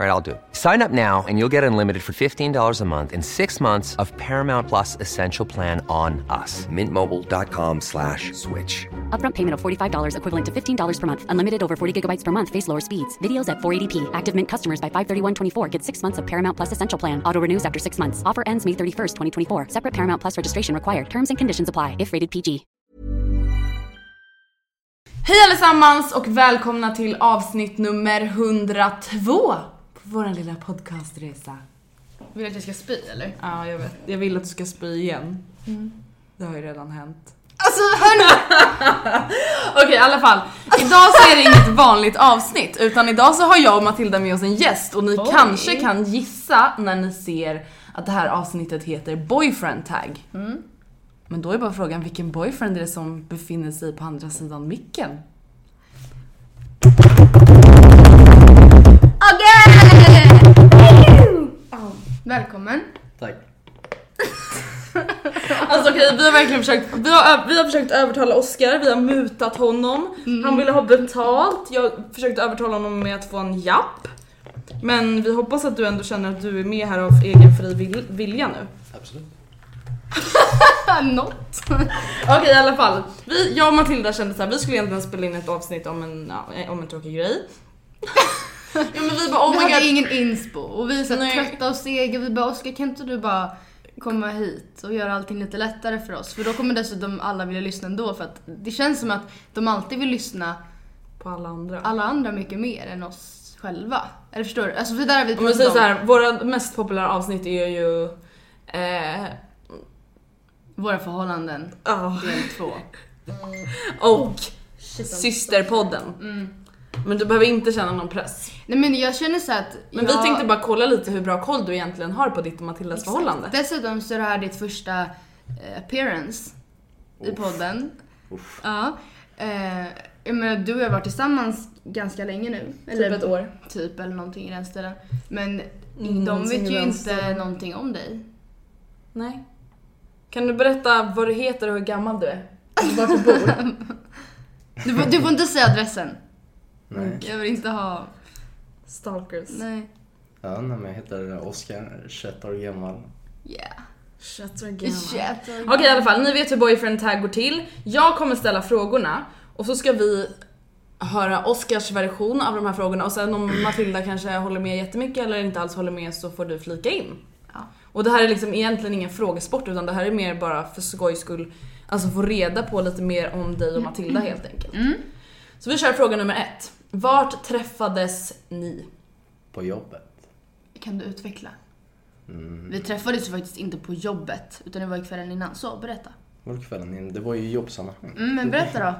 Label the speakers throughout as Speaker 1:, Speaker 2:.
Speaker 1: All right, I'll do it. Sign up now and you'll get unlimited for $15 a month in six months of Paramount Plus Essential Plan on us. Mintmobile.com slash switch.
Speaker 2: Upfront payment of $45 equivalent to $15 per month. Unlimited over 40 gigabytes per month. Face lower speeds. Videos at 480p. Active Mint customers by 531.24 get six months of Paramount Plus Essential Plan. Auto renews after six months. Offer ends May 31st, 2024. Separate Paramount Plus registration required. Terms and conditions apply if rated PG.
Speaker 3: Hej allesammans och välkomna till avsnitt nummer 102 på vår lilla podcastresa.
Speaker 4: Vill du att jag ska spy eller? Mm.
Speaker 3: Ja, jag vet. Jag vill att du ska spy igen. Det har ju redan hänt.
Speaker 4: Alltså hörni!
Speaker 3: Okej, i alla fall. Idag så är det inget vanligt avsnitt, utan idag så har jag och Matilda med oss en gäst och ni
Speaker 4: Oj.
Speaker 3: kanske kan gissa när ni ser att det här avsnittet heter Boyfriend Tag. Men då är bara frågan, vilken boyfriend är det som befinner sig på andra sidan micken?
Speaker 4: Välkommen.
Speaker 5: Tack.
Speaker 3: Alltså okej, vi har verkligen försökt, vi har, vi har försökt övertala Oscar, vi har mutat honom, han ville ha betalt, jag försökte övertala honom med att få en japp. Men vi hoppas att du ändå känner att du är med här av egen fri vil- vilja nu.
Speaker 5: Absolut.
Speaker 4: Något.
Speaker 3: Okej i alla fall, vi, jag och Matilda kände så här, vi skulle egentligen spela in ett avsnitt om en, ja, om en tråkig grej. ja men vi bara oh
Speaker 4: vi
Speaker 3: my
Speaker 4: hade
Speaker 3: god.
Speaker 4: ingen inspo och vi är så här
Speaker 3: Nej.
Speaker 4: trötta och sega. Vi bara Oskar kan inte du bara komma hit och göra allting lite lättare för oss? För då kommer dessutom alla vilja lyssna ändå för att det känns som att de alltid vill lyssna
Speaker 3: På alla andra.
Speaker 4: alla andra mycket mer än oss själva. Eller förstår du? Alltså för där har vi
Speaker 3: Om vi säger så här, våra mest populära avsnitt är ju... Eh,
Speaker 4: våra förhållanden
Speaker 3: ja, Oh, alltså.
Speaker 4: del två.
Speaker 3: och systerpodden. Men du behöver inte känna någon press.
Speaker 4: Nej men jag känner så här att
Speaker 3: Men
Speaker 4: jag...
Speaker 3: vi tänkte bara kolla lite hur bra koll du egentligen har på ditt och Matildas förhållande.
Speaker 4: Dessutom så är det här ditt första eh, appearance i podden. Ja. Eh, jag menar, du och jag har varit tillsammans ganska länge nu. Eller,
Speaker 3: ett år.
Speaker 4: Typ, eller någonting i den stilen. Men de
Speaker 3: någonting
Speaker 4: vet
Speaker 3: i
Speaker 4: ju
Speaker 3: den
Speaker 4: inte
Speaker 3: stilen.
Speaker 4: någonting om dig.
Speaker 3: Nej. Kan du berätta vad du heter och hur gammal du är? Alltså, Och Var du bor?
Speaker 4: Du, får- du får inte säga adressen.
Speaker 3: Mm.
Speaker 5: Nej.
Speaker 4: Jag vill inte ha...
Speaker 3: Stalkers.
Speaker 4: Nej.
Speaker 5: Ja, nej, men jag heter Oskar, 21 år gammal.
Speaker 4: Yeah.
Speaker 3: Shut your
Speaker 4: Shit.
Speaker 3: Okej i alla fall, ni vet hur boyfriend tag går till. Jag kommer ställa frågorna och så ska vi höra Oscars version av de här frågorna och sen om Matilda kanske håller med jättemycket eller inte alls håller med så får du flika in.
Speaker 4: Ja.
Speaker 3: Och det här är liksom egentligen ingen frågesport utan det här är mer bara för skojs skull, alltså få reda på lite mer om dig och Matilda helt enkelt. Så vi kör fråga nummer ett. Vart träffades ni?
Speaker 5: På jobbet.
Speaker 4: Kan du utveckla? Vi träffades ju faktiskt inte på jobbet, utan det var ju kvällen innan. Så, berätta.
Speaker 5: Var kvällen in. Det var ju jobbsammanhang.
Speaker 4: Mm, men berätta då.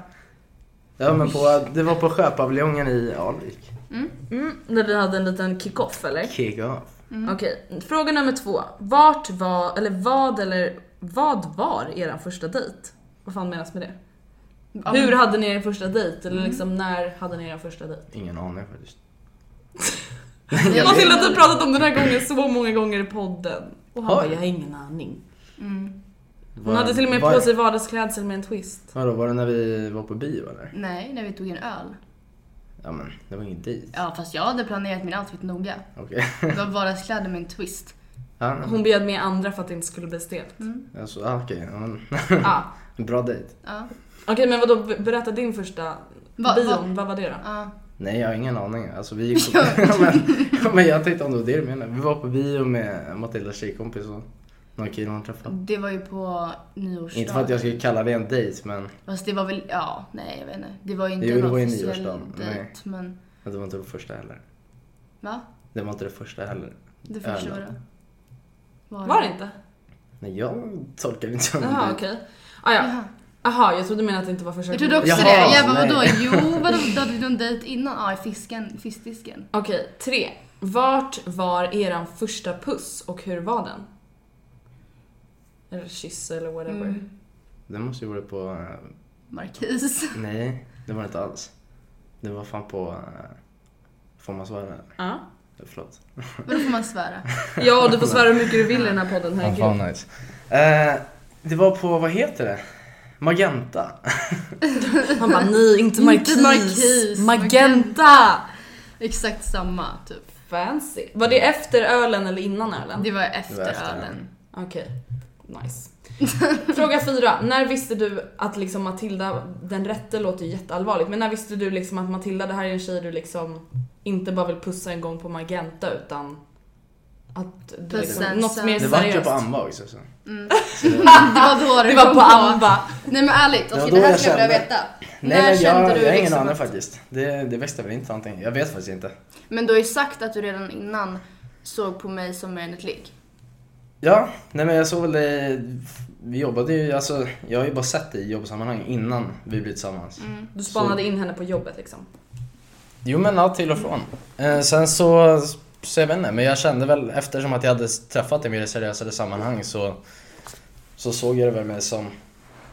Speaker 5: Ja, men på, det var på Sjöpaviljongen i Alvik.
Speaker 3: Mm, när vi hade en liten kick-off eller?
Speaker 5: Kick off.
Speaker 3: Okej, fråga nummer två. Vart var, eller vad eller vad var eran första dejt? Vad fan menas med det?
Speaker 4: Ja,
Speaker 3: Hur
Speaker 4: men-
Speaker 3: hade ni er första dejt? Eller liksom när hade ni er första dejt?
Speaker 5: Ingen aning faktiskt.
Speaker 3: Matilda har typ pratat om den här gången så många gånger i podden. Och han
Speaker 5: Oj.
Speaker 3: bara, jag har ingen aning. Hon
Speaker 5: Var-
Speaker 3: hade till och med
Speaker 5: var-
Speaker 3: på sig vardagsklädsel med en twist.
Speaker 5: Vadå, var det när vi var på bio eller?
Speaker 4: Nej, när vi tog en öl.
Speaker 5: Ja men, det var ingen dejt.
Speaker 4: Ja, fast jag hade planerat min outfit noga.
Speaker 5: Okej.
Speaker 4: Det var vardagskläder med en twist.
Speaker 5: ja,
Speaker 3: Hon bjöd med andra för att det inte skulle bli stelt.
Speaker 5: alltså, ah, okej. ja, men-
Speaker 3: Ah.
Speaker 5: Bra dejt.
Speaker 4: Ja.
Speaker 3: Okej men vadå, be- berätta din första
Speaker 4: Va-
Speaker 3: bion,
Speaker 4: va-
Speaker 3: vad var det då?
Speaker 4: Ja.
Speaker 5: Nej, jag har ingen aning. Alltså, vi gick på... men, men jag tänkte om det var det du menade. Vi var på bio med Matildas tjejkompis och någon kille hon träffade.
Speaker 4: Det var ju på nyårsdagen.
Speaker 5: Inte för att jag skulle kalla det en dejt, men
Speaker 4: Fast det var väl, ja, nej jag vet inte. Det var ju inte
Speaker 5: Jo, det
Speaker 4: en
Speaker 5: var ju
Speaker 4: officiell
Speaker 5: nyårsdagen, nej.
Speaker 4: dejt men,
Speaker 5: det var inte det första heller.
Speaker 4: va?
Speaker 5: Det var inte det första heller.
Speaker 4: Det första var
Speaker 5: Ölen.
Speaker 4: det.
Speaker 3: Var det inte?
Speaker 5: Nej, jag tolkar inte som en
Speaker 3: Jaha
Speaker 5: dejt.
Speaker 3: okej. Ah, ja.
Speaker 4: Jaha.
Speaker 3: Jaha jag trodde du menade att det inte var första
Speaker 4: Jag trodde också
Speaker 5: Jaha,
Speaker 4: det. Jag bara
Speaker 5: nej.
Speaker 4: vadå? Jo, vadå? Då hade du en dejt innan? Ja, i fisken, fiskdisken.
Speaker 3: Okej, tre. Vart var eran första puss och hur var den? Eller kyss eller whatever.
Speaker 5: Det måste ju vara på... eh,
Speaker 4: Markis.
Speaker 5: Nej, det var det inte alls. Det var fan på... eh, Får man svara? eller?
Speaker 3: Ja.
Speaker 5: Förlåt.
Speaker 4: Vadå får man svära?
Speaker 3: Ja, och du får svära hur mycket du vill i den här podden,
Speaker 5: Fan,
Speaker 3: herregud.
Speaker 5: fan nice. Eh, det var på, vad heter det? Magenta.
Speaker 3: Han bara, nej, inte markis.
Speaker 4: markis.
Speaker 3: Magenta!
Speaker 4: Exakt samma typ.
Speaker 3: Fancy. Var det efter ölen eller innan ölen?
Speaker 4: Det var efter,
Speaker 5: Det var efter
Speaker 4: ölen.
Speaker 3: Okej, nice. Fråga fyra. När visste du att liksom Matilda, den rätte låter ju jätteallvarligt, men när visste du liksom att Matilda, det här är en tjej du liksom inte bara vill pussa en gång på Magenta utan att du
Speaker 4: Pussa
Speaker 3: liksom,
Speaker 4: en
Speaker 3: något mer
Speaker 5: Det
Speaker 4: söndag.
Speaker 5: var ju
Speaker 3: seriöst?
Speaker 5: på Amba också. Så.
Speaker 4: Det var då det
Speaker 3: Det var
Speaker 4: kom
Speaker 3: på Amba.
Speaker 4: Nej men ärligt,
Speaker 5: var
Speaker 4: okej
Speaker 5: då
Speaker 4: det här
Speaker 5: jag
Speaker 4: skulle jag vilja
Speaker 5: kände-
Speaker 4: veta.
Speaker 5: Nej, men jag, jag har ingen
Speaker 4: liksom
Speaker 5: aning
Speaker 4: att-
Speaker 5: faktiskt. Det, det växte väl inte någonting. Jag vet faktiskt inte.
Speaker 4: Men du har ju sagt att du redan innan såg på mig som mer än ett ligg.
Speaker 5: Ja, nej men jag såg väl det. Vi jobbade ju, alltså jag har ju bara sett det i jobbsammanhang innan vi blev tillsammans.
Speaker 3: Du spanade in henne på jobbet liksom.
Speaker 5: Jo men ja, till och från. Eh, sen så, så jag vet inte, men jag kände väl eftersom att jag hade träffat henne i mer seriösare sammanhang så, så såg jag det väl mer som,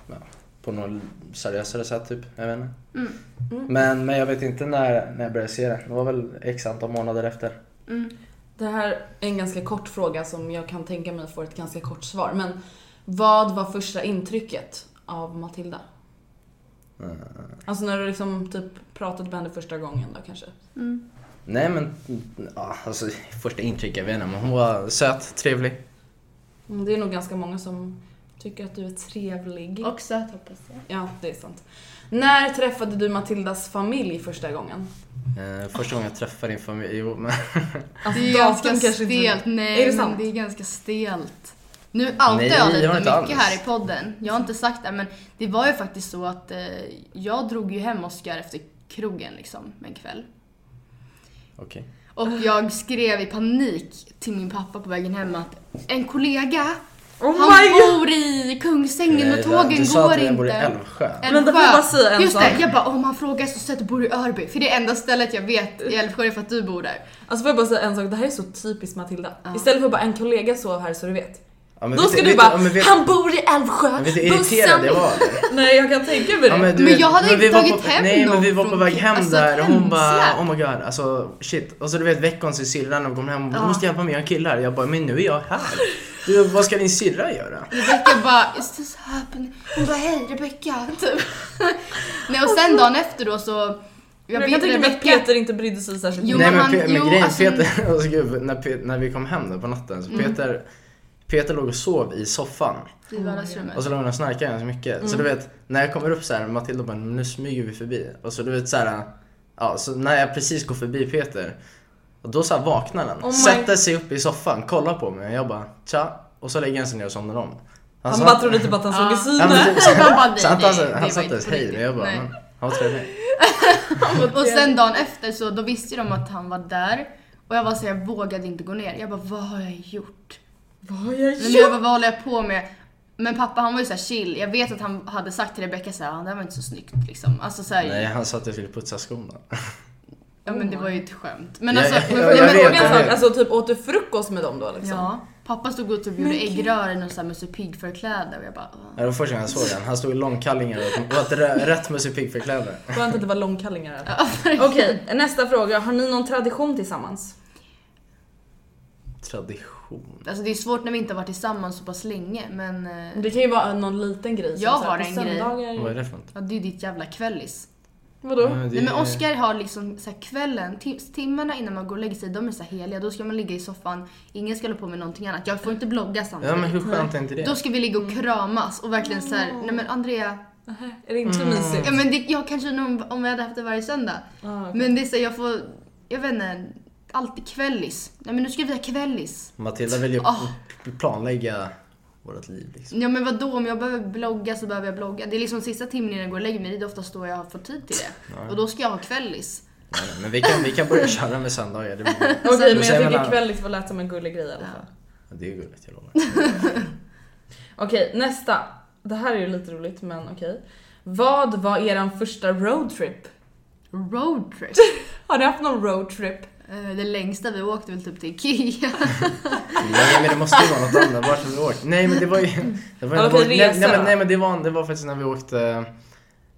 Speaker 5: ja, på något seriösare sätt typ, jag vet inte. Men, men jag vet inte när, när jag började se det. Det var väl x antal månader efter.
Speaker 3: Det här är en ganska kort fråga som jag kan tänka mig får ett ganska kort svar, men vad var första intrycket av Matilda?
Speaker 5: Eh.
Speaker 3: Alltså när du liksom typ pratade med henne första gången då kanske?
Speaker 5: Nej men, ja, alltså första intrycket, jag vet inte, men hon var söt, trevlig.
Speaker 3: Mm, Det är nog ganska många som tycker att du är trevlig.
Speaker 4: Och söt hoppas jag.
Speaker 3: Ja, det är sant. När träffade du Matildas familj första gången?
Speaker 5: Eh, första gången jag träffade din familj, jo men...
Speaker 3: Alltså,
Speaker 4: Det är
Speaker 3: datum
Speaker 4: ganska
Speaker 3: kanske inte-
Speaker 4: stelt. Nej,
Speaker 3: Är det
Speaker 4: men
Speaker 3: sant?
Speaker 4: Ehm, det är ganska stelt. Nu outar
Speaker 5: Nej,
Speaker 4: jag
Speaker 5: jag
Speaker 4: lite
Speaker 5: har
Speaker 4: mycket
Speaker 5: inte alls.
Speaker 4: här i podden. Jag har inte sagt det, men det var ju faktiskt så att eh, jag drog ju hem Oscar efter krogen liksom en kväll.
Speaker 5: Okej.
Speaker 4: Och jag skrev i panik till min pappa på vägen hem att en kollega,
Speaker 3: Oh
Speaker 4: han
Speaker 3: my god!
Speaker 4: bor i Kungsängen och
Speaker 5: Nej,
Speaker 4: tågen
Speaker 5: du sa
Speaker 4: går
Speaker 5: att
Speaker 4: inte.
Speaker 5: jag bor i Älvsjö.
Speaker 3: Men då får jag bara säga en
Speaker 4: Just
Speaker 3: sak.
Speaker 4: det, jag bara om han frågar så säger jag att du bor i Örby. För det är enda stället jag vet i Älvsjö är för att du bor där.
Speaker 3: Alltså får jag bara säga en sak, det här är så typiskt Matilda. Istället för bara en kollega så här så du vet.
Speaker 5: Ja, men
Speaker 3: Då
Speaker 5: vet
Speaker 3: ska du
Speaker 5: vet
Speaker 3: bara,
Speaker 5: ja, men vet-
Speaker 3: han bor i Älvsjö,
Speaker 5: Men vet du hur irriterad jag var? eller?
Speaker 3: Nej jag kan tänka mig det.
Speaker 5: Ja,
Speaker 3: men...
Speaker 5: du
Speaker 4: Men
Speaker 5: vet,
Speaker 4: jag hade
Speaker 5: vi
Speaker 4: inte
Speaker 5: var
Speaker 4: tagit
Speaker 5: på,
Speaker 4: hem
Speaker 5: Nej men
Speaker 4: någon
Speaker 5: vi var på
Speaker 4: från-
Speaker 5: väg hem
Speaker 4: alltså,
Speaker 5: där och hon bara
Speaker 4: hemsläpp.
Speaker 5: oh my god alltså shit. Och så du vet veckans i syrran när hon kom hem och bara, du
Speaker 4: Ja.
Speaker 5: måste hjälpa mig, jag är en kille här. Jag bara men nu är jag här. Du, vad ska din syrra göra?
Speaker 4: Rebecka bara is this happening? Hon bara hej Rebecka typ. Nej och sen dagen efter då så jag
Speaker 3: Jag kan
Speaker 4: vet
Speaker 3: tänka mig att
Speaker 4: Rebecka
Speaker 3: Peter inte brydde sig särskilt
Speaker 4: Jo,
Speaker 3: mycket.
Speaker 5: nej
Speaker 4: men
Speaker 5: men,
Speaker 4: han-
Speaker 5: Pe- men
Speaker 4: jo,
Speaker 5: grejen
Speaker 4: alltså- Mm.
Speaker 5: Peter, alltså, gud, när, Pe- när vi kom hem där på natten så Peter, Peter låg och sov i soffan.
Speaker 4: i vardagsrummet.
Speaker 5: Och så låg han och snarkade ganska mycket. Så du
Speaker 4: Mm.
Speaker 5: vet, när jag kommer upp så här, Matilda bara nu smyger vi förbi. Och så du vet så här, ja, så när jag precis går förbi Peter. Och då så här vaknar han,
Speaker 4: Oh
Speaker 3: my-
Speaker 5: sätter sig upp i soffan, kollar på mig och jag bara tja. Och så lägger han sig ner och somnar om.
Speaker 3: Han
Speaker 5: sa-
Speaker 3: bara trodde typ att han såg i
Speaker 5: Ja, men
Speaker 3: syne.
Speaker 5: typ så-
Speaker 4: Han bara,
Speaker 5: så han
Speaker 4: nej,
Speaker 5: tar sig-
Speaker 4: nej,
Speaker 5: han
Speaker 4: det var inte
Speaker 5: satte sig
Speaker 4: på
Speaker 5: hej
Speaker 4: riktigt.
Speaker 5: men jag bara
Speaker 4: Nej.
Speaker 5: men, han var trevlig.
Speaker 4: Och sen dagen efter så då visste ju de att han var där. Och jag var så här, jag vågade inte gå ner. Jag bara vad har jag gjort? Men jag bara, vad håller jag på med? Men pappa han var ju så här chill. Jag vet att han hade sagt till Rebecka så här, "Ah, det här var inte så snyggt liksom. Alltså så här,
Speaker 5: Nej han sa att jag skulle putsa skorna.
Speaker 4: Ja men det var ju ett skämt. Men
Speaker 5: Ja,
Speaker 4: alltså,
Speaker 5: ja,
Speaker 4: men-
Speaker 5: ja, jag
Speaker 4: men-
Speaker 5: vet,
Speaker 4: men-
Speaker 5: jag vet.
Speaker 3: Alltså typ åt du frukost med dem då liksom?
Speaker 4: Ja, pappa stod och typ gjorde äggrör i någon sån här Musse Pigg-förkläde och jag bara... "Ah."
Speaker 5: Det var första gången jag såg den. Han stod i långkallingar och åt rä- rätt Musse Pigg-förkläde.
Speaker 3: Skönt att det var långkallingar. Okej, nästa fråga. Har ni någon tradition tillsammans?
Speaker 5: Tradition.
Speaker 4: Alltså det är svårt när vi inte har varit tillsammans så pass länge men... eh,
Speaker 3: Det kan ju vara någon liten grej. som
Speaker 4: Jag
Speaker 3: så här
Speaker 4: har
Speaker 3: på
Speaker 4: en grej.
Speaker 3: söndagar-
Speaker 5: Vad är det för något?
Speaker 4: Ja, det är ju ditt jävla kvällis.
Speaker 3: Vadå?
Speaker 4: Nej men Oscar har liksom så här kvällen, tim- timmarna innan man går och lägger sig, de är så här heliga. Då ska man ligga i soffan, ingen ska hålla på med någonting annat. Jag får inte blogga
Speaker 5: Ja men
Speaker 4: samtidigt.
Speaker 5: hur skönt är inte det?
Speaker 4: Då ska vi ligga och kramas och verkligen så här, nej men Andrea,
Speaker 3: Är det inte så mysigt?
Speaker 4: ja men det, jag kanske om, om vi hade haft det varje söndag. Men det är så här, jag får, jag vet inte, alltid kvällis. Nej men nu ska vi ha kvällis.
Speaker 5: Matilda vill ju
Speaker 4: Ah.
Speaker 5: planlägga vårt liv liksom.
Speaker 4: Ja men vad då om jag behöver blogga så behöver jag blogga. Det är liksom sista timmen innan jag går och lägger mig, det är oftast då jag har fått tid till det. Och då ska jag ha kvällis.
Speaker 5: Nej, nej, men vi kan, vi kan börja köra med söndagar. Det, blir bra.
Speaker 3: Okej
Speaker 5: Då
Speaker 3: men
Speaker 5: säger
Speaker 3: jag
Speaker 5: man
Speaker 3: tycker
Speaker 5: alla-
Speaker 3: kvällis var lät som en gullig grej i alla fall.
Speaker 5: Ja, det är gulligt, jag lovar.
Speaker 3: Okej nästa. Det här är ju lite roligt men okej. Vad var eran första roadtrip?
Speaker 4: Roadtrip.
Speaker 3: Har ni haft någon roadtrip?
Speaker 4: Eh, Det längsta vi åkte väl typ till Ikea.
Speaker 5: Nej men det måste ju vara något annat. Vart har vi åkt? Nej men det var ju... Det var
Speaker 3: Ja,
Speaker 5: ju
Speaker 3: okej,
Speaker 5: nej,
Speaker 3: resa
Speaker 5: nej,
Speaker 3: då.
Speaker 5: men, nej men det var, det var faktiskt när vi åkte...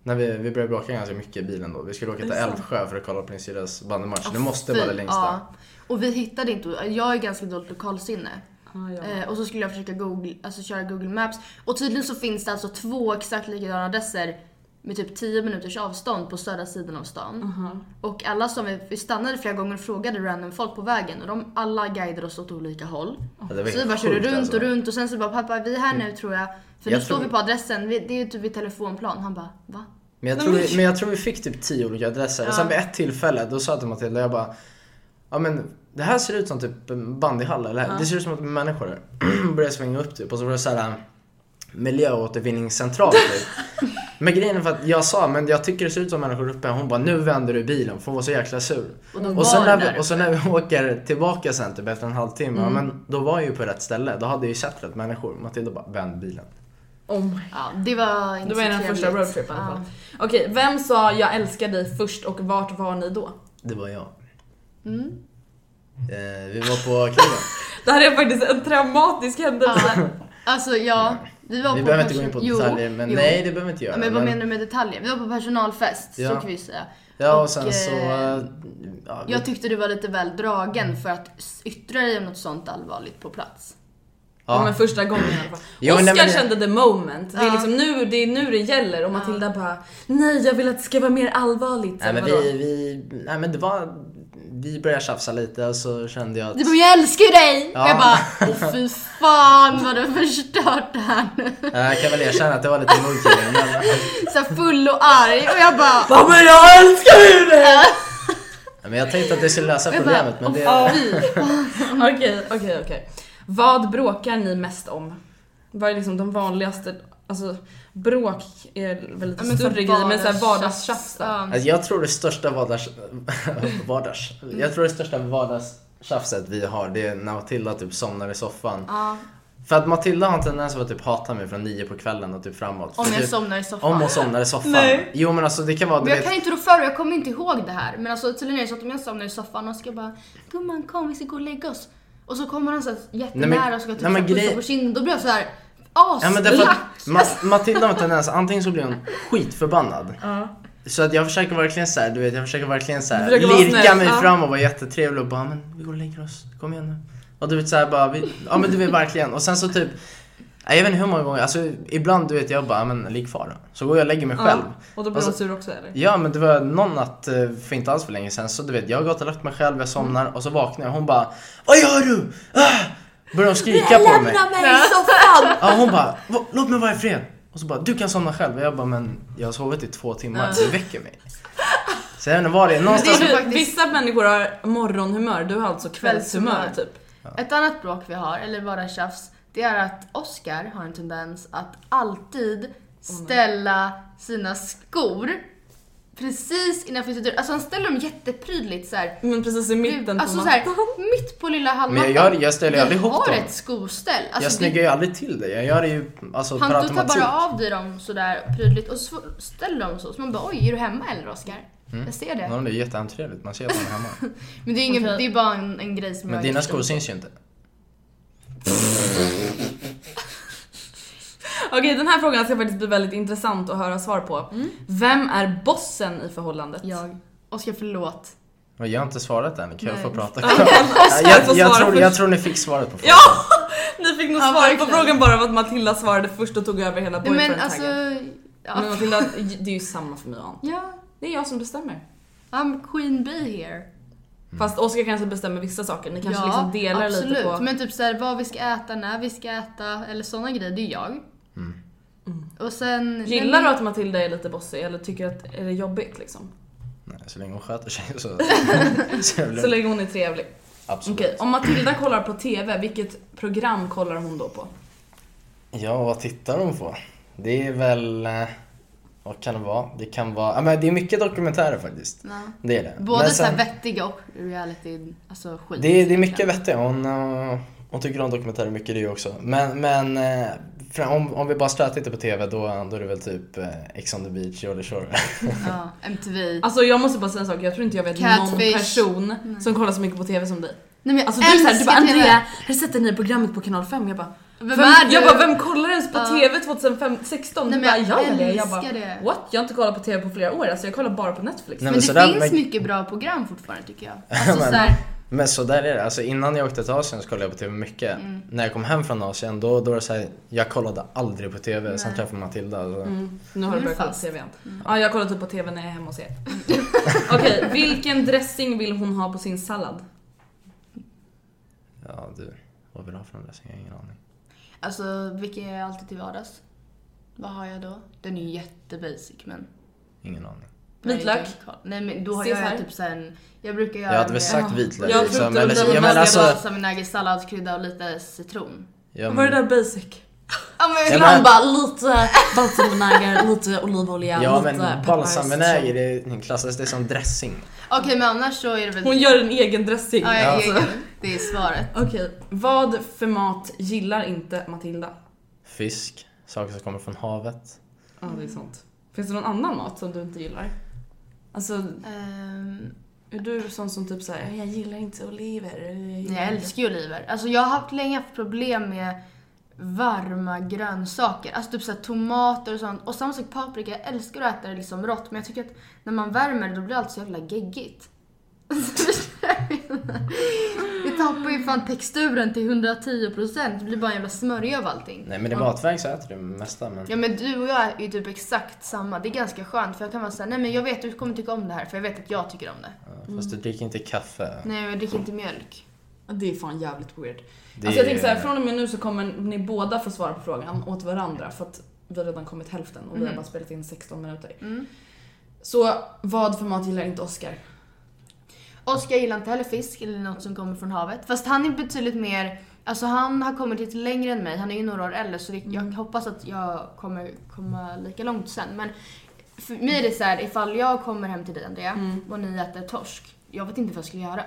Speaker 5: När vi, vi började bråka ganska mycket i bilen då. Vi skulle åka till Älvsjö för att kolla på din syrras bandymatch. Det måste vara det
Speaker 4: Fy,
Speaker 5: längsta.
Speaker 4: Ja. Och vi hittade inte, jag är ganska dåligt lokalsinne.
Speaker 3: Ah, ja.
Speaker 4: Eh, och så skulle jag försöka Google, alltså köra Google Maps. Och tydligen så finns det alltså två exakt likadana adresser med typ 10 minuters avstånd på södra sidan av stan. Och alla som vi, vi stannade flera gånger och frågade random folk på vägen och de alla guidade oss åt olika håll.
Speaker 5: Ja,
Speaker 4: så
Speaker 5: det var
Speaker 4: vi
Speaker 5: helt
Speaker 4: bara körde
Speaker 5: sjukt,
Speaker 4: runt
Speaker 5: alltså. Mm.
Speaker 4: och runt och sen så bara pappa vi är här nu tror jag. För
Speaker 5: Jag
Speaker 4: nu står
Speaker 5: tror-
Speaker 4: vi på adressen, vi, det är ju typ vid telefonplan. Han bara va?
Speaker 5: Men jag, tror, vi- men jag tror vi fick typ tio olika adresser. Och sen vid ett tillfälle, då sa jag till Matilda, jag bara... Ja men det här ser ut som typ en bandyhall eller Det ser ut som att människor här." började svänga upp typ. Och så var det så här miljöåtervinningscentral typ. Men grejen är för att jag sa, men jag tycker det ser ut som människor uppe. Hon bara, nu vänder du bilen. För hon var så jäkla sur.
Speaker 4: Och de var
Speaker 5: Och sen, när
Speaker 4: där Mm.
Speaker 5: vi, och sen när vi åker tillbaka sen typ efter en halvtimme, ja, men då var jag ju på rätt ställe. Då hade jag ju sett rätt människor. Matilda bara, vänd bilen.
Speaker 3: Oh my.
Speaker 4: Ja, det var inte
Speaker 3: Det
Speaker 4: så
Speaker 3: var eran första
Speaker 4: trevligt.
Speaker 3: roadtrip i alla
Speaker 4: Ja.
Speaker 3: fall. Okej, vem sa jag älskar dig först och vart var ni då?
Speaker 5: Det var jag.
Speaker 4: Mm.
Speaker 5: Eh, vi var på klubben.
Speaker 3: Det här är faktiskt en traumatisk händelse.
Speaker 4: Alltså ja, vi var
Speaker 5: Vi
Speaker 4: på
Speaker 5: behöver inte gå in
Speaker 4: person-
Speaker 5: på
Speaker 4: Jo,
Speaker 5: detaljer, men
Speaker 4: jo.
Speaker 5: nej det behöver vi inte göra.
Speaker 4: Ja, men vad menar du med detaljer? Vi var på personalfest, så
Speaker 5: Ja.
Speaker 4: kan vi ju säga.
Speaker 5: Ja och sen så...
Speaker 4: eh,
Speaker 5: eh, Ja, vi,
Speaker 4: Jag tyckte du var lite väl dragen för att s- yttra dig om något sånt allvarligt på plats.
Speaker 3: Ja.
Speaker 5: ja.
Speaker 3: Men första gången i alla fall.
Speaker 5: Jo,
Speaker 3: Oscar
Speaker 5: nej, men-
Speaker 3: kände the moment. Det är liksom nu det, är nu det gäller och Matilda bara Nej jag vill att det ska vara mer allvarligt.
Speaker 5: Nej men
Speaker 3: Vadå?
Speaker 5: vi, vi, nej men det var... Vi började tjafsa lite och så kände jag att...
Speaker 4: Du bara, jag älskar ju dig!
Speaker 5: Ja.
Speaker 4: Och jag bara, åh fy fan vad du har förstört det här nu.
Speaker 5: Eh, Jag kan väl erkänna att det var lite mugg till det, men...
Speaker 4: Så här full och arg och jag bara,
Speaker 3: Ja men jag älskar ju dig!
Speaker 5: Nej, Men jag tänkte att det skulle lösa
Speaker 4: jag bara,
Speaker 5: problemet men det...
Speaker 4: åh fy.
Speaker 3: Mm. Okej, okej, okej. Vad bråkar ni mest om? Vad är liksom de vanligaste, alltså bråk är väl lite
Speaker 4: Ja, men så
Speaker 3: större grejer men såhär vardagstjafs
Speaker 4: vardagstjafs,
Speaker 3: då?
Speaker 4: ja.
Speaker 5: Alltså, jag tror det största vardags... vardags...
Speaker 4: Mm.
Speaker 5: Jag tror det största vardagstjafset vi har det är när Matilda typ somnar i soffan. För att Matilda har en tendens att typ hata mig från nio på kvällen och typ framåt.
Speaker 4: Om
Speaker 5: För
Speaker 4: jag
Speaker 5: typ,
Speaker 4: somnar i soffan.
Speaker 5: Om hon somnar i soffan.
Speaker 3: Nej.
Speaker 5: Jo men alltså det kan vara... du
Speaker 4: Men jag
Speaker 5: vet-
Speaker 4: kan inte rå för och jag kommer inte ihåg det här. Men alltså tydligen är det så att om jag somnar i soffan och ska bara Gumman kom vi ska gå och lägga oss. Och så kommer han så här jättenära
Speaker 5: Nej, men-
Speaker 4: och ska typ
Speaker 5: nej,
Speaker 4: så
Speaker 5: men
Speaker 4: här
Speaker 5: grej-
Speaker 4: pussa på kinden. Då blir jag så här
Speaker 5: Ja, men
Speaker 4: aslack.
Speaker 5: därför att Ma- Matilda har en tendens, antingen så blir hon skitförbannad. Så att jag försöker verkligen så här, du vet jag försöker verkligen så här,
Speaker 3: Du försöker vara
Speaker 5: lirka
Speaker 3: snäll,
Speaker 5: mig
Speaker 3: ja.
Speaker 5: fram och vara jättetrevlig och bara men vi går och lägger oss, kom igen nu. Och du vet såhär bara, vi, ja men du vet verkligen. Och sen så typ, nej, jag vet inte hur många gånger, alltså ibland du vet jag bara, men ligg kvar då. Så går jag och lägger mig själv. Alltså-
Speaker 3: Och då blir hon sur också eller?
Speaker 5: Ja men det var någon natt eh, för inte alls för länge sedan så du vet jag har gått och lagt mig själv, jag somnar och så vaknar jag och hon bara Vad gör du? Ah! Börjar hon skrika på mig.
Speaker 4: mig i soffan!
Speaker 5: Ja hon bara, "Va- låt mig vara i fred. Och så bara, du kan somna själv. Och jag bara, men jag har sovit i två timmar, du väcker mig. Så jag vet inte vad det är,
Speaker 4: Det är
Speaker 5: någonstans...
Speaker 4: nog
Speaker 3: Alltså, Du,
Speaker 4: faktiskt
Speaker 3: vissa människor har morgonhumör, du har alltså kvällshumör
Speaker 4: Kvällshumör.
Speaker 3: typ.
Speaker 4: ett annat bråk vi har, eller bara tjafs. Det är att Oscar har en tendens att
Speaker 3: Oh
Speaker 4: alltid ställa sina skor precis innanför sitt Alltså han ställer dem jätteprydligt så här.
Speaker 3: Men precis i mitten
Speaker 4: Alltså
Speaker 3: på
Speaker 4: såhär,
Speaker 3: mattan.
Speaker 4: mitt på lilla halmmattan.
Speaker 5: Men jag gör- jag ställer ju aldrig ihop
Speaker 4: Vi
Speaker 5: dem.
Speaker 4: har ett skoställ. Alltså,
Speaker 5: Jag
Speaker 4: det-
Speaker 5: snyggar ju aldrig till det, jag gör det ju alltså
Speaker 4: han,
Speaker 5: per
Speaker 4: du tar
Speaker 5: automatik.
Speaker 4: bara av dig dem sådär prydligt och så ställer dem så. Så man bara oj, är du hemma eller Oskar? Jag ser
Speaker 5: Mm. Ja,
Speaker 4: det.
Speaker 5: men det är jätteantrevligt, man ser att man är hemma.
Speaker 4: Men det är, ingen, det är bara en, en grej som
Speaker 5: Men
Speaker 4: jag
Speaker 5: dina skor syns ju inte.
Speaker 3: Okej, den här frågan ska faktiskt bli väldigt intressant att höra svar på.
Speaker 4: Mm.
Speaker 3: Vem är bossen i förhållandet?
Speaker 4: Jag. Oskar förlåt.
Speaker 5: Men jag har inte svarat än, kan jag
Speaker 4: Nej.
Speaker 5: få prata?
Speaker 3: Oskar får
Speaker 5: jag, jag,
Speaker 3: svara
Speaker 5: tror,
Speaker 3: först.
Speaker 5: jag tror ni fick svaret på frågan.
Speaker 3: Ja! Ni fick nog
Speaker 4: Ja,
Speaker 3: svaret på
Speaker 4: verkligen.
Speaker 3: frågan bara av att Matilda svarade först och tog över hela
Speaker 4: Nej, men
Speaker 3: boyfriend-taggen.
Speaker 4: alltså... Ja.
Speaker 3: Men Matilda, det är ju samma för mig och Anton.
Speaker 4: ja.
Speaker 3: Det är jag som bestämmer.
Speaker 4: I'm queen bee here.
Speaker 3: Fast Oskar kanske bestämmer vissa saker, ni kanske
Speaker 4: ja,
Speaker 3: liksom delar
Speaker 4: absolut.
Speaker 3: lite på...
Speaker 4: Men typ såhär vad vi ska äta, när vi ska äta eller sådana grejer, det är jag.
Speaker 5: Mm.
Speaker 4: Mm. Och sen...
Speaker 3: Gillar du att Matilda är lite bossig eller tycker att är det jobbigt liksom?
Speaker 5: Nej, så länge hon sköter sig så... så jag blir-
Speaker 3: Så länge hon är trevlig.
Speaker 5: Absolut.
Speaker 3: Okej, om Matilda kollar på TV, vilket program kollar hon då på?
Speaker 5: Ja, vad tittar hon på? Det är väl... eh, Vad kan det vara? Det kan vara... Ja, men det är mycket dokumentärer faktiskt.
Speaker 4: Ja.
Speaker 5: Det är det.
Speaker 4: Både
Speaker 5: Men
Speaker 4: såhär
Speaker 5: sen-
Speaker 4: vettiga och reality, alltså skit.
Speaker 5: Det, är- det är mycket vettigt. Hon, eh, hon tycker om dokumentärer mycket det också. Men, men eh, fra- om, om vi bara stöter lite på TV då, då är det väl typ eh, Ex on the beach, Jordy Shore.
Speaker 4: Ja, MTV.
Speaker 3: Alltså jag måste bara säga en sak, jag tror inte jag vet någon
Speaker 4: Catfish.
Speaker 3: person som kollar så mycket på TV som dig.
Speaker 4: Nej men jag
Speaker 3: Alltså du är såhär, du
Speaker 4: älskar
Speaker 3: bara
Speaker 4: TV.
Speaker 3: Andrea, har du sett det nya programmet på kanal 5? Jag bara,
Speaker 4: Vem är du?
Speaker 3: Jag bara, vem kollar ens på
Speaker 4: Ja.
Speaker 3: TV 2016?
Speaker 4: Nej,
Speaker 3: Du
Speaker 4: men
Speaker 3: bara, jag
Speaker 4: jag
Speaker 3: gör det. Jag
Speaker 4: älskar
Speaker 3: bara,
Speaker 4: det.
Speaker 3: what? Jag har inte kollat på TV på flera år, alltså jag kollar bara på Netflix.
Speaker 5: Nej,
Speaker 4: Men
Speaker 5: så
Speaker 4: det
Speaker 5: där-
Speaker 4: finns
Speaker 5: men-
Speaker 4: mycket bra program fortfarande tycker jag. Alltså
Speaker 5: Men-
Speaker 4: såhär,
Speaker 5: Men så där är det. Alltså innan jag åkte till Asien så kollade jag på TV mycket.
Speaker 4: Mm.
Speaker 5: När jag kom hem från Asien då, då var det så här, jag kollade aldrig på TV. Sen träffade jag Matilda. Så.
Speaker 4: Mm.
Speaker 3: Nu har du
Speaker 4: Nu
Speaker 3: börjat kolla på
Speaker 4: fast. Mm.
Speaker 3: TV igen. Ja, jag kollar typ på TV när jag är hemma hos er. Okej, vilken dressing vill hon ha på sin sallad?
Speaker 5: Ja du, vad vill du ha för den där? Jag har ingen aning.
Speaker 4: alltså vilken är jag alltid till vardags? Vad har jag då? Den är ju jättebasic men.
Speaker 5: Ingen aning.
Speaker 3: Vitlök?
Speaker 4: Nej men då har
Speaker 3: Caesar?
Speaker 4: jag typ såhär en, jag brukar göra
Speaker 5: Jag hade
Speaker 4: med-
Speaker 5: väl sagt vitlök.
Speaker 3: Jag
Speaker 5: liksom,
Speaker 3: trodde det var
Speaker 5: eller, jag
Speaker 3: bara
Speaker 5: men
Speaker 3: det
Speaker 5: alltså...
Speaker 3: var-
Speaker 4: Salminaggi, salladskrydda och lite citron.
Speaker 5: Jag,
Speaker 3: Var det där basic?
Speaker 4: Ja men,
Speaker 5: Mm. men-
Speaker 3: bara lite balsamvinäger, lite olivolja,
Speaker 5: ja
Speaker 3: lite
Speaker 5: men
Speaker 3: peppar,
Speaker 5: balsamvinäger det klassas det som dressing.
Speaker 4: Okej men annars så är det väl...
Speaker 3: Hon gör en egen dressing.
Speaker 4: ja, jag
Speaker 3: Alltså.
Speaker 4: egen. Det är svaret.
Speaker 3: Okej, vad för mat gillar inte Matilda?
Speaker 5: Fisk, saker som kommer från havet.
Speaker 3: Ja, det är sant. Finns det någon annan mat som du inte gillar? Alltså,
Speaker 4: Ehm,
Speaker 3: är du sån som typ såhär, jag gillar inte oliver. jag gillar
Speaker 4: jag
Speaker 5: Mm.
Speaker 3: inte-"
Speaker 4: älskar ju oliver. Alltså jag har haft länge haft problem med varma grönsaker. Alltså typ såhär tomater och sånt. Och samma sak paprika, jag älskar att äta det liksom rått. Men jag tycker att när man värmer det då blir allt så jävla geggigt. Det tappar ju fan texturen till 110%. Det blir bara en jävla smörja av allting.
Speaker 5: Nej men i matväg så äter du det mesta men...
Speaker 4: Ja men du och jag är ju typ exakt samma. Det är ganska skönt för jag kan vara såhär, nej men jag vet att du kommer tycka om det här för jag vet att jag tycker om det.
Speaker 5: Ja, Fast du dricker inte kaffe.
Speaker 4: Nej jag dricker inte mjölk.
Speaker 3: Ja, Det är fan jävligt weird.
Speaker 5: Det
Speaker 3: Alltså jag
Speaker 5: är-
Speaker 3: tänker såhär, från och med nu så kommer ni båda få svara på frågan åt varandra för att vi har redan kommit hälften och vi har bara spelat in 16 minuter. Så vad för mat gillar inte Oscar?
Speaker 4: Oskar gillar inte heller fisk eller något som kommer från havet. Fast han är betydligt mer, alltså han har kommit lite längre än mig. Han är ju några år äldre så det, jag
Speaker 3: Mm.
Speaker 4: hoppas att jag kommer komma lika långt sen. Men för mig är det såhär, ifall jag kommer hem till dig Andrea
Speaker 3: Mm.
Speaker 4: och ni äter torsk. Jag vet inte vad jag skulle göra.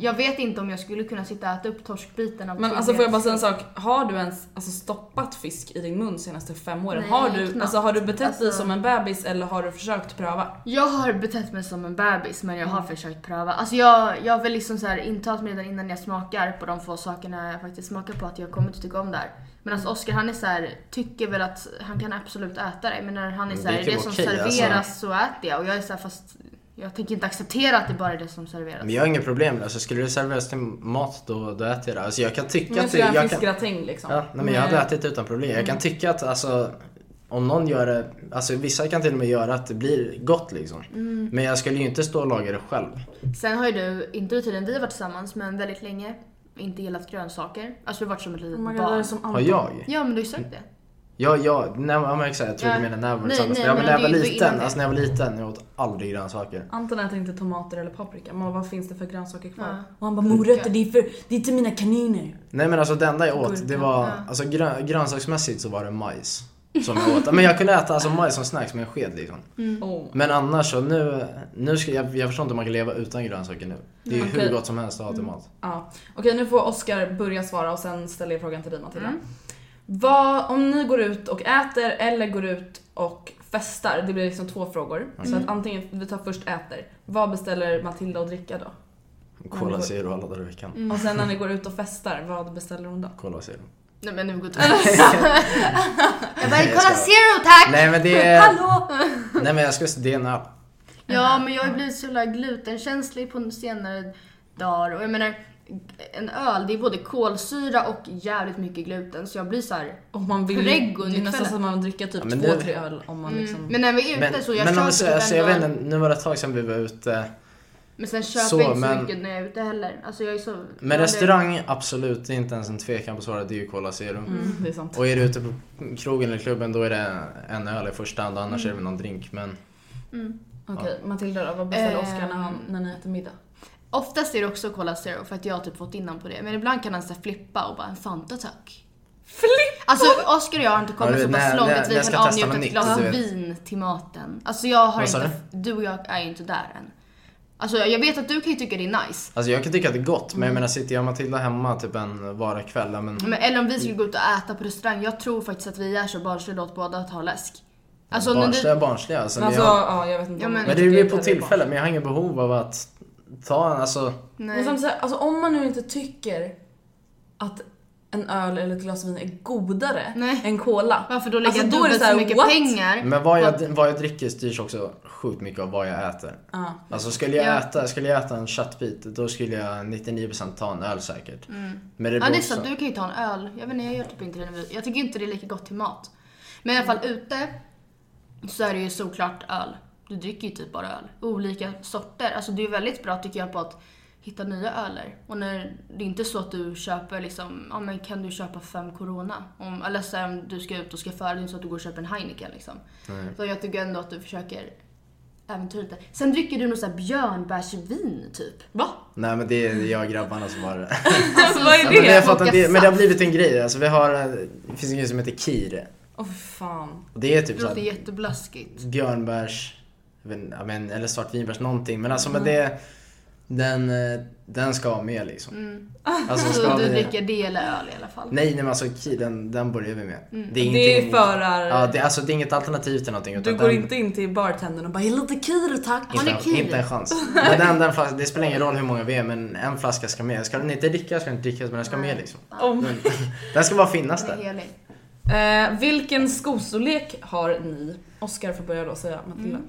Speaker 4: Jag vet inte om jag skulle kunna sitta och äta upp torskbiten av
Speaker 3: Mm. Men alltså
Speaker 4: trygghet.
Speaker 3: får jag bara säga en sak, har du ens alltså, stoppat fisk i din mun de senaste fem åren?
Speaker 4: Nej,
Speaker 3: har, du,
Speaker 4: knappt.
Speaker 3: alltså, har du betett dig
Speaker 4: Alltså-
Speaker 3: som en bebis eller har du försökt pröva?
Speaker 4: Jag har betett mig som en bebis men jag har
Speaker 5: Mm.
Speaker 4: försökt pröva. Alltså jag, jag har väl liksom så här intalat mig redan innan jag smakar på de få sakerna jag faktiskt smakar på att jag kommer inte tycka om där. Medan Oskar han är så här, tycker väl att han kan absolut äta det men när han är
Speaker 5: Men
Speaker 4: så
Speaker 5: det
Speaker 4: här,
Speaker 5: är
Speaker 4: det,
Speaker 5: typ
Speaker 4: som
Speaker 5: okej,
Speaker 4: serveras
Speaker 5: alltså.
Speaker 4: så äter jag och jag är så här, fast jag tänker inte acceptera att det bara är det som serveras.
Speaker 5: Men jag har inga problem. Alltså, skulle det serveras till mat då, då äter jag det. Alltså, jag kan tycka
Speaker 3: Men
Speaker 5: att...
Speaker 3: så gör
Speaker 5: Jag
Speaker 3: jag Mm.
Speaker 5: kan,
Speaker 3: en fiskgratäng liksom.
Speaker 5: ja, nej, men jag hade ätit utan problem. Jag kan tycka att alltså, om någon gör det... Alltså, vissa kan till och med göra att det blir gott liksom.
Speaker 3: Mm.
Speaker 5: Men jag skulle ju inte stå och laga det själv.
Speaker 4: Sen har ju du, inte under tiden vi har varit tillsammans men väldigt länge, inte gillat grönsaker. Alltså du har varit som ett litet
Speaker 3: Oh my God, det är
Speaker 4: barn.
Speaker 3: som
Speaker 5: Har
Speaker 3: Anton.
Speaker 5: jag?
Speaker 4: Ja men du har ju sagt det.
Speaker 5: Ja, ja, nej, ja, men exakt. Jag tror
Speaker 4: Ja.
Speaker 5: du menar när jag var
Speaker 4: Nej,
Speaker 5: tillsammans.
Speaker 4: nej,
Speaker 5: Ja, men
Speaker 4: men
Speaker 5: när jag
Speaker 4: det
Speaker 5: var
Speaker 4: är ju innan
Speaker 5: liten.
Speaker 4: det.
Speaker 5: Alltså när jag var liten, jag åt aldrig grönsaker.
Speaker 3: Anton äter inte tomater eller paprika, men vad finns det för grönsaker kvar?
Speaker 4: Ja.
Speaker 3: Och han bara morötter, det är, för, det är till mina kaniner.
Speaker 5: Nej men alltså det enda jag åt det
Speaker 3: Gurka.
Speaker 5: var, alltså grö, grönsaksmässigt så var det majs. Som jag åt. Men jag kunde äta alltså majs som snacks med en sked liksom.
Speaker 4: Mm.
Speaker 3: Oh.
Speaker 5: Men annars så nu, nu ska, jag, jag förstår inte hur man kan leva utan grönsaker nu. Det är ju
Speaker 4: Mm,
Speaker 3: Okej.
Speaker 5: hur gott som helst att ha till mat.
Speaker 3: Ja. Okej, nu får Oskar börja svara och sen ställer
Speaker 4: Mm.
Speaker 3: jag frågan till dig Matilda. Vad, om ni går ut och äter eller går ut och festar, det blir liksom två frågor.
Speaker 4: Mm.
Speaker 3: Så att antingen, vi tar först äter. Vad beställer Matilda att dricka då?
Speaker 4: Mm,
Speaker 5: Cola Zero alla dagar i veckan.
Speaker 3: Och sen när ni går ut och festar, vad beställer hon då?
Speaker 5: Cola Zero.
Speaker 4: Nej men nu går det Jag bara, kolla zero tack!
Speaker 5: Nej men det är... Hallå! Nej men jag skulle säga det är en öl.
Speaker 4: Ja, men jag har ju blivit så jävla glutenkänslig på senare dagar. Och jag menar, en öl, det är både kolsyra och jävligt mycket gluten. Så jag blir så här.
Speaker 3: Om man vill,
Speaker 4: Preggo
Speaker 3: det är nästan
Speaker 4: ikväll.
Speaker 3: som att man dricker typ
Speaker 5: Ja, men
Speaker 3: två,
Speaker 5: det-
Speaker 3: tre öl om man liksom...
Speaker 4: Men när vi är ute
Speaker 5: Men,
Speaker 4: så jag
Speaker 5: men
Speaker 4: köper
Speaker 5: alltså,
Speaker 4: typ en
Speaker 5: alltså, jag vet
Speaker 4: öl.
Speaker 5: inte, nu var det ett tag sedan vi var ute.
Speaker 4: Men sen köper
Speaker 5: Så,
Speaker 4: jag inte så
Speaker 5: men-
Speaker 4: mycket när jag är ute heller. Alltså jag är så...
Speaker 5: Men restaurang, absolut, det är inte ens en tvekan på svaret, det är ju Cola Zero.
Speaker 3: Mm, det är sant.
Speaker 5: Och är du ute på krogen eller klubben då är det en öl i första hand och annars är det väl någon drink. Men
Speaker 3: Okej, Matilda då, vad beställer
Speaker 4: Eh,
Speaker 3: Oskar när, han, när ni äter middag?
Speaker 4: Oftast är det också Cola Zero för att jag har typ fått innan på det. Men ibland kan han så här flippa och bara en Fanta tack. Flippa? Alltså Oscar och jag har inte kommit
Speaker 5: Ja, du
Speaker 4: så
Speaker 5: vet,
Speaker 4: pass
Speaker 5: när-
Speaker 4: långt
Speaker 5: när-
Speaker 4: att
Speaker 5: när
Speaker 4: vi
Speaker 5: jag
Speaker 4: kan
Speaker 5: ska testa
Speaker 4: avnjuta
Speaker 5: något
Speaker 4: ett
Speaker 5: nytt,
Speaker 4: glas
Speaker 5: du vet.
Speaker 4: vin till maten. Alltså jag har
Speaker 5: Vad sa
Speaker 4: inte... Du och jag är ju inte där än. Alltså jag vet att du kan ju tycka det är nice.
Speaker 5: alltså jag kan tycka att det är gott, men jag menar sitter jag och Matilda hemma typ en vardagskväll, ja, men
Speaker 4: Men, eller om vi
Speaker 5: Mm.
Speaker 4: skulle gå ut och äta på restaurang. Jag tror faktiskt att vi är så barnsliga åt båda att ha läsk. Alltså, när
Speaker 5: barnsliga
Speaker 4: du,
Speaker 5: barnsliga. Alltså,
Speaker 3: Alltså,
Speaker 5: vi har,
Speaker 3: ja, jag vet inte.
Speaker 4: Ja,
Speaker 3: om
Speaker 4: men-
Speaker 3: man
Speaker 5: men det
Speaker 3: tycker
Speaker 5: blir
Speaker 3: att
Speaker 5: på
Speaker 3: är barn.
Speaker 5: tillfälle, men jag har ingen behov av att ta en, alltså
Speaker 3: Men
Speaker 4: nej.
Speaker 3: som sagt, alltså, om man nu inte tycker att en öl eller ett glas vin är godare
Speaker 4: Nej.
Speaker 3: än cola.
Speaker 4: Varför då
Speaker 3: Alltså,
Speaker 4: lägga
Speaker 3: är det
Speaker 4: dubbelt
Speaker 3: här,
Speaker 4: så mycket
Speaker 3: what?
Speaker 4: pengar?
Speaker 5: Men vad jag, vad jag dricker styrs också sjukt mycket av vad jag äter.
Speaker 3: Ja.
Speaker 5: Alltså skulle jag,
Speaker 4: Ja.
Speaker 5: äta, skulle jag äta en köttbit, då skulle jag 99% ta en öl säkert. Men det
Speaker 4: Ja
Speaker 5: beror
Speaker 4: det är sant,
Speaker 5: också-
Speaker 4: du kan ju ta en öl. Jag vet inte, jag gör typ inte det. nu. Jag tycker inte det är lika gott till mat. Men i alla fall ute så är det ju såklart öl. Du dricker ju typ bara öl. Olika sorter. Alltså det är ju väldigt bra tycker jag på att hitta nya öler. Och när det är inte så att du köper liksom, ja men kan du köpa fem corona? Om, eller så här, om du ska ut och ska föra, det är inte så att du går och köper en Heineken liksom. Så jag tycker ändå att du försöker äventyra lite. Sen dricker du något såhär björnbärsvin typ.
Speaker 3: Va?
Speaker 5: Nej men det är jag och grabbarna som har det.
Speaker 4: Alltså,
Speaker 3: Vad är
Speaker 5: Ja, men, det har fått en
Speaker 4: Plocka
Speaker 5: del, men det har
Speaker 4: saft.
Speaker 5: blivit en grej. Alltså, vi har, eh, det finns en grej som heter kir.
Speaker 3: Åh fan.
Speaker 5: Och det är typ
Speaker 4: Det låter
Speaker 5: såhär
Speaker 4: jätteblaskigt.
Speaker 5: björnbärs, jag vet inte, ja, men, eller svartvinbärs någonting. Men alltså men det, den, eh, den ska med liksom. Alltså,
Speaker 4: Så
Speaker 5: ska
Speaker 4: du
Speaker 5: vi,
Speaker 4: dricker det eller öl i alla fall?
Speaker 5: nej nej men alltså kir, den, den börjar vi med.
Speaker 3: Det är
Speaker 5: ingenting-
Speaker 3: förar...
Speaker 5: Ja, det, alltså, det är inget alternativ till någonting.
Speaker 3: Du
Speaker 5: utan
Speaker 3: går
Speaker 5: den-
Speaker 3: inte in till bartendern och bara “lite kir tack”.
Speaker 4: Har ni
Speaker 5: inte,
Speaker 4: kir?
Speaker 5: inte en chans. Men den, den flas- det spelar ingen roll hur många vi är men en flaska ska med. Ska den inte dricka ska den inte drickas men den ska med liksom.
Speaker 3: Om.
Speaker 5: Den ska bara finnas
Speaker 4: Det är
Speaker 5: där.
Speaker 4: helig.
Speaker 3: Eh, vilken skostorlek har ni? Oskar får börja då säga Matilda.
Speaker 4: Mm.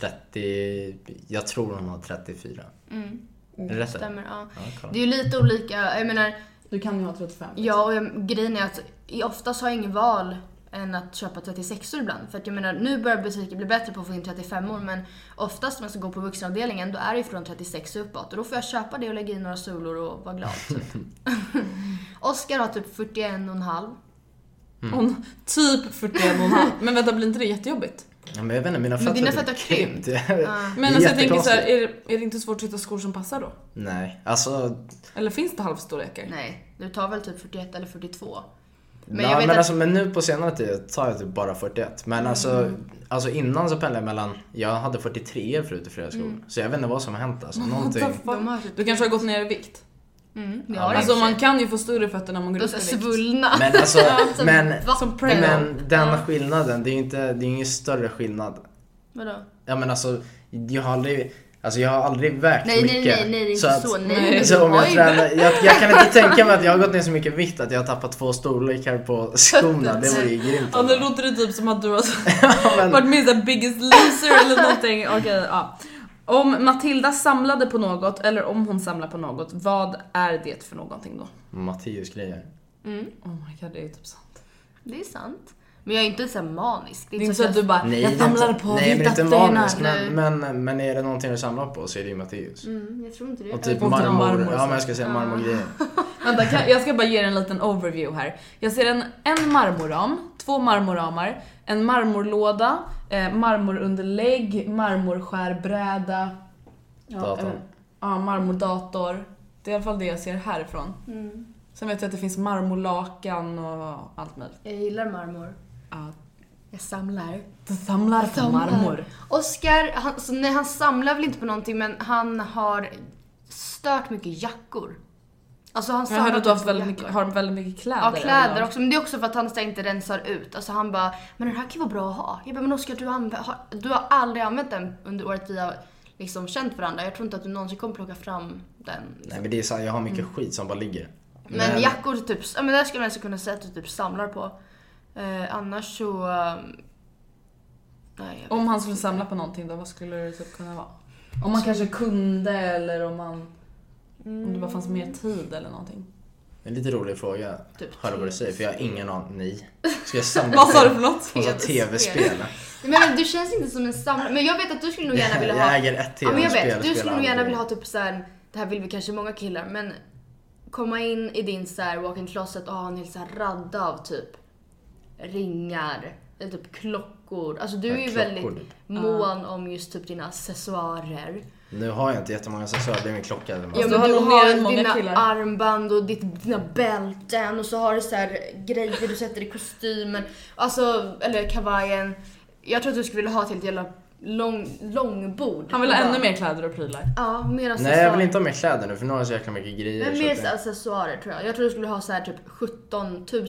Speaker 5: 30, jag tror hon har 34. Mm. Är det rätt?
Speaker 4: Stämmer, ja.
Speaker 5: Ja, kolla.
Speaker 4: Det är ju lite olika, jag menar,
Speaker 3: Du kan ju ha 35.
Speaker 4: ja och jag, grejen är att i- oftast har jag ingen val än att köpa 36 or ibland. För att jag menar, nu börjar butiker bli bättre på att få in 35 or men oftast när jag ska gå på vuxenavdelningen då är det ju från 36 och uppåt. Och då får jag köpa det och lägga i några solor och vara glad typ. Oskar har typ 41 och en halv.
Speaker 3: Hon, typ 41 och en halv. Men vänta blir inte det jättejobbigt?
Speaker 5: Ja, men jag vet inte, mina
Speaker 4: Men
Speaker 5: fötter
Speaker 4: dina
Speaker 5: typ
Speaker 4: fötter har krympt.
Speaker 5: Det är
Speaker 3: Men alltså, jag tänker så
Speaker 5: jättekonstigt.
Speaker 3: här, är, det- är det inte svårt att hitta skor som passar då?
Speaker 5: Nej, alltså.
Speaker 3: Eller finns det halvstorlekar?
Speaker 4: Nej, du tar väl typ 41 eller 42.
Speaker 5: Men,
Speaker 4: jag vet
Speaker 5: men,
Speaker 4: att-
Speaker 5: alltså, men nu på senare tid tar jag typ bara 41. Men alltså,
Speaker 4: Mm.
Speaker 5: alltså innan så pendlade jag mellan, jag hade 43 förut i flera skor.
Speaker 4: Mm.
Speaker 5: Så jag vet inte vad som har hänt alltså. Någonting.
Speaker 4: De har typ-
Speaker 3: Du kanske har gått ner i vikt?
Speaker 4: Mm, det
Speaker 5: Ja,
Speaker 4: har jag i
Speaker 5: men-
Speaker 4: och för
Speaker 3: Alltså
Speaker 4: sig.
Speaker 3: man kan ju få större fötter när man går
Speaker 4: De är
Speaker 3: upp
Speaker 4: så
Speaker 3: i
Speaker 4: här
Speaker 3: vikt.
Speaker 4: svullna.
Speaker 5: Men alltså,
Speaker 4: Som-
Speaker 5: men,
Speaker 4: Va?
Speaker 3: Som prey.
Speaker 5: men den skillnaden, det är ju inte, det är ingen större skillnad.
Speaker 4: Vadå?
Speaker 5: Ja men alltså, jag har aldrig, alltså jag har aldrig vägt
Speaker 4: Nej, nej,
Speaker 5: mycket.
Speaker 4: nej, nej, det är inte så. Nej,
Speaker 3: nej.
Speaker 5: så om jag,
Speaker 4: Oj.
Speaker 5: tränar, jag, jag kan inte tänka mig att jag har gått ner så mycket vikt att jag har tappat två storlekar på skorna. Det vore ju grymt.
Speaker 3: Ja nu låter det typ som att du har
Speaker 5: Ja, men-
Speaker 3: varit med i så här Biggest Loser eller någonting. Okej, ja. Om Matilda samlade på något eller om hon samlar på något, vad är det för någonting då?
Speaker 5: Matteus grejer.
Speaker 3: Oh my god, det är ju typ sant.
Speaker 4: Det är sant. Men jag är inte så här manisk. Det
Speaker 3: Det är inte så att du bara “jag
Speaker 5: det är inte-
Speaker 3: samlar på
Speaker 5: nej, men
Speaker 3: vita
Speaker 5: inte manisk,
Speaker 3: stenar”.
Speaker 5: men, men, men är det någonting du samlar på så är det ju Matteus.
Speaker 4: Mm, jag tror inte det.
Speaker 5: Och typ
Speaker 3: Och
Speaker 5: marmor.
Speaker 3: marmor,
Speaker 5: Ja
Speaker 3: så.
Speaker 5: men jag ska säga marmorgrejer.
Speaker 3: Vänta, kan, jag ska bara ge er en liten overview här. Jag ser en, en marmorram, två marmorramar, en marmorlåda, eh, marmorunderlägg, marmorskärbräda. Ja,
Speaker 5: Datorn.
Speaker 3: eh, Ja, marmordator. Det är i alla fall det jag ser härifrån.
Speaker 4: Mm.
Speaker 3: Sen vet jag att det finns marmorlakan och allt möjligt.
Speaker 4: Jag gillar marmor.
Speaker 3: Ja,
Speaker 4: Jag samlar.
Speaker 3: du samlar på marmor.
Speaker 4: Oskar, han, så, nej, han samlar väl inte på någonting men han har stört mycket jackor. Alltså han
Speaker 3: Jag hörde att du har haft väldigt
Speaker 4: samlar
Speaker 3: mycket, har väldigt mycket kläder.
Speaker 4: Ja kläder
Speaker 3: överallt.
Speaker 4: också, men det är också för att han så här inte rensar ut. Alltså han bara, men den här kan ju vara bra att ha. Jag bara, men Oskar du, anv- har, du har aldrig använt den under året vi har liksom känt varandra. Jag tror inte att du någonsin kommer plocka fram den. liksom.
Speaker 5: Nej men det är sant, jag har mycket skit som bara ligger.
Speaker 4: Men, jackor typ, ja men där skulle man alltså kunna säga att du typ samlar på. Eh, annars så... eh, nej, jag vet.
Speaker 3: Om han skulle samla på någonting då, vad skulle det typ kunna vara? Om man kanske kunde eller om man... Om det bara fanns mer tid eller någonting.
Speaker 5: En lite rolig fråga.
Speaker 4: Typ
Speaker 5: Hör du vad du säger? För jag har ingen aning. Nej. Ska jag samla
Speaker 3: Vad sa
Speaker 5: på-
Speaker 3: du för något?
Speaker 5: Hon sa tv-spel.
Speaker 4: Men, men du känns inte som en samlare. Men jag vet att du skulle nog gärna vilja ha...
Speaker 5: Jag äger ett
Speaker 4: Ja, men jag
Speaker 5: tv-spel,
Speaker 4: vet. Du skulle
Speaker 5: spelar
Speaker 4: nog gärna
Speaker 5: aldrig.
Speaker 4: vilja ha typ såhär, det här vill vi kanske många killar, men komma in i din såhär walk-in closet och ha en hel såhär radda av typ ringar, eller typ klockor. Alltså du
Speaker 5: Ja,
Speaker 4: är ju
Speaker 5: klockor,
Speaker 4: väldigt
Speaker 5: typ.
Speaker 4: mån om just typ dina accessoarer.
Speaker 5: Nu har jag inte jättemånga accessoarer, det är min klocka. Alltså, eller vad.
Speaker 4: Ja,
Speaker 3: du
Speaker 4: men
Speaker 3: har
Speaker 4: du
Speaker 3: nog mer än
Speaker 4: har
Speaker 3: många
Speaker 4: dina
Speaker 3: killar.
Speaker 4: armband och ditt, dina bälten och så har du så här grejer du sätter i kostymen, alltså, eller kavajen. Jag tror att du skulle vilja ha ett helt jävla lång, långbord.
Speaker 3: Han vill ha ännu mer kläder och prylar.
Speaker 4: Ja, mer accessoarer.
Speaker 5: Nej jag vill inte ha mer kläder nu för nu har jag så jäkla mycket grejer.
Speaker 4: alltså- Men
Speaker 5: så
Speaker 4: mer
Speaker 5: att det-
Speaker 4: så accessoarer tror jag. Jag tror du skulle ha så här typ 17 000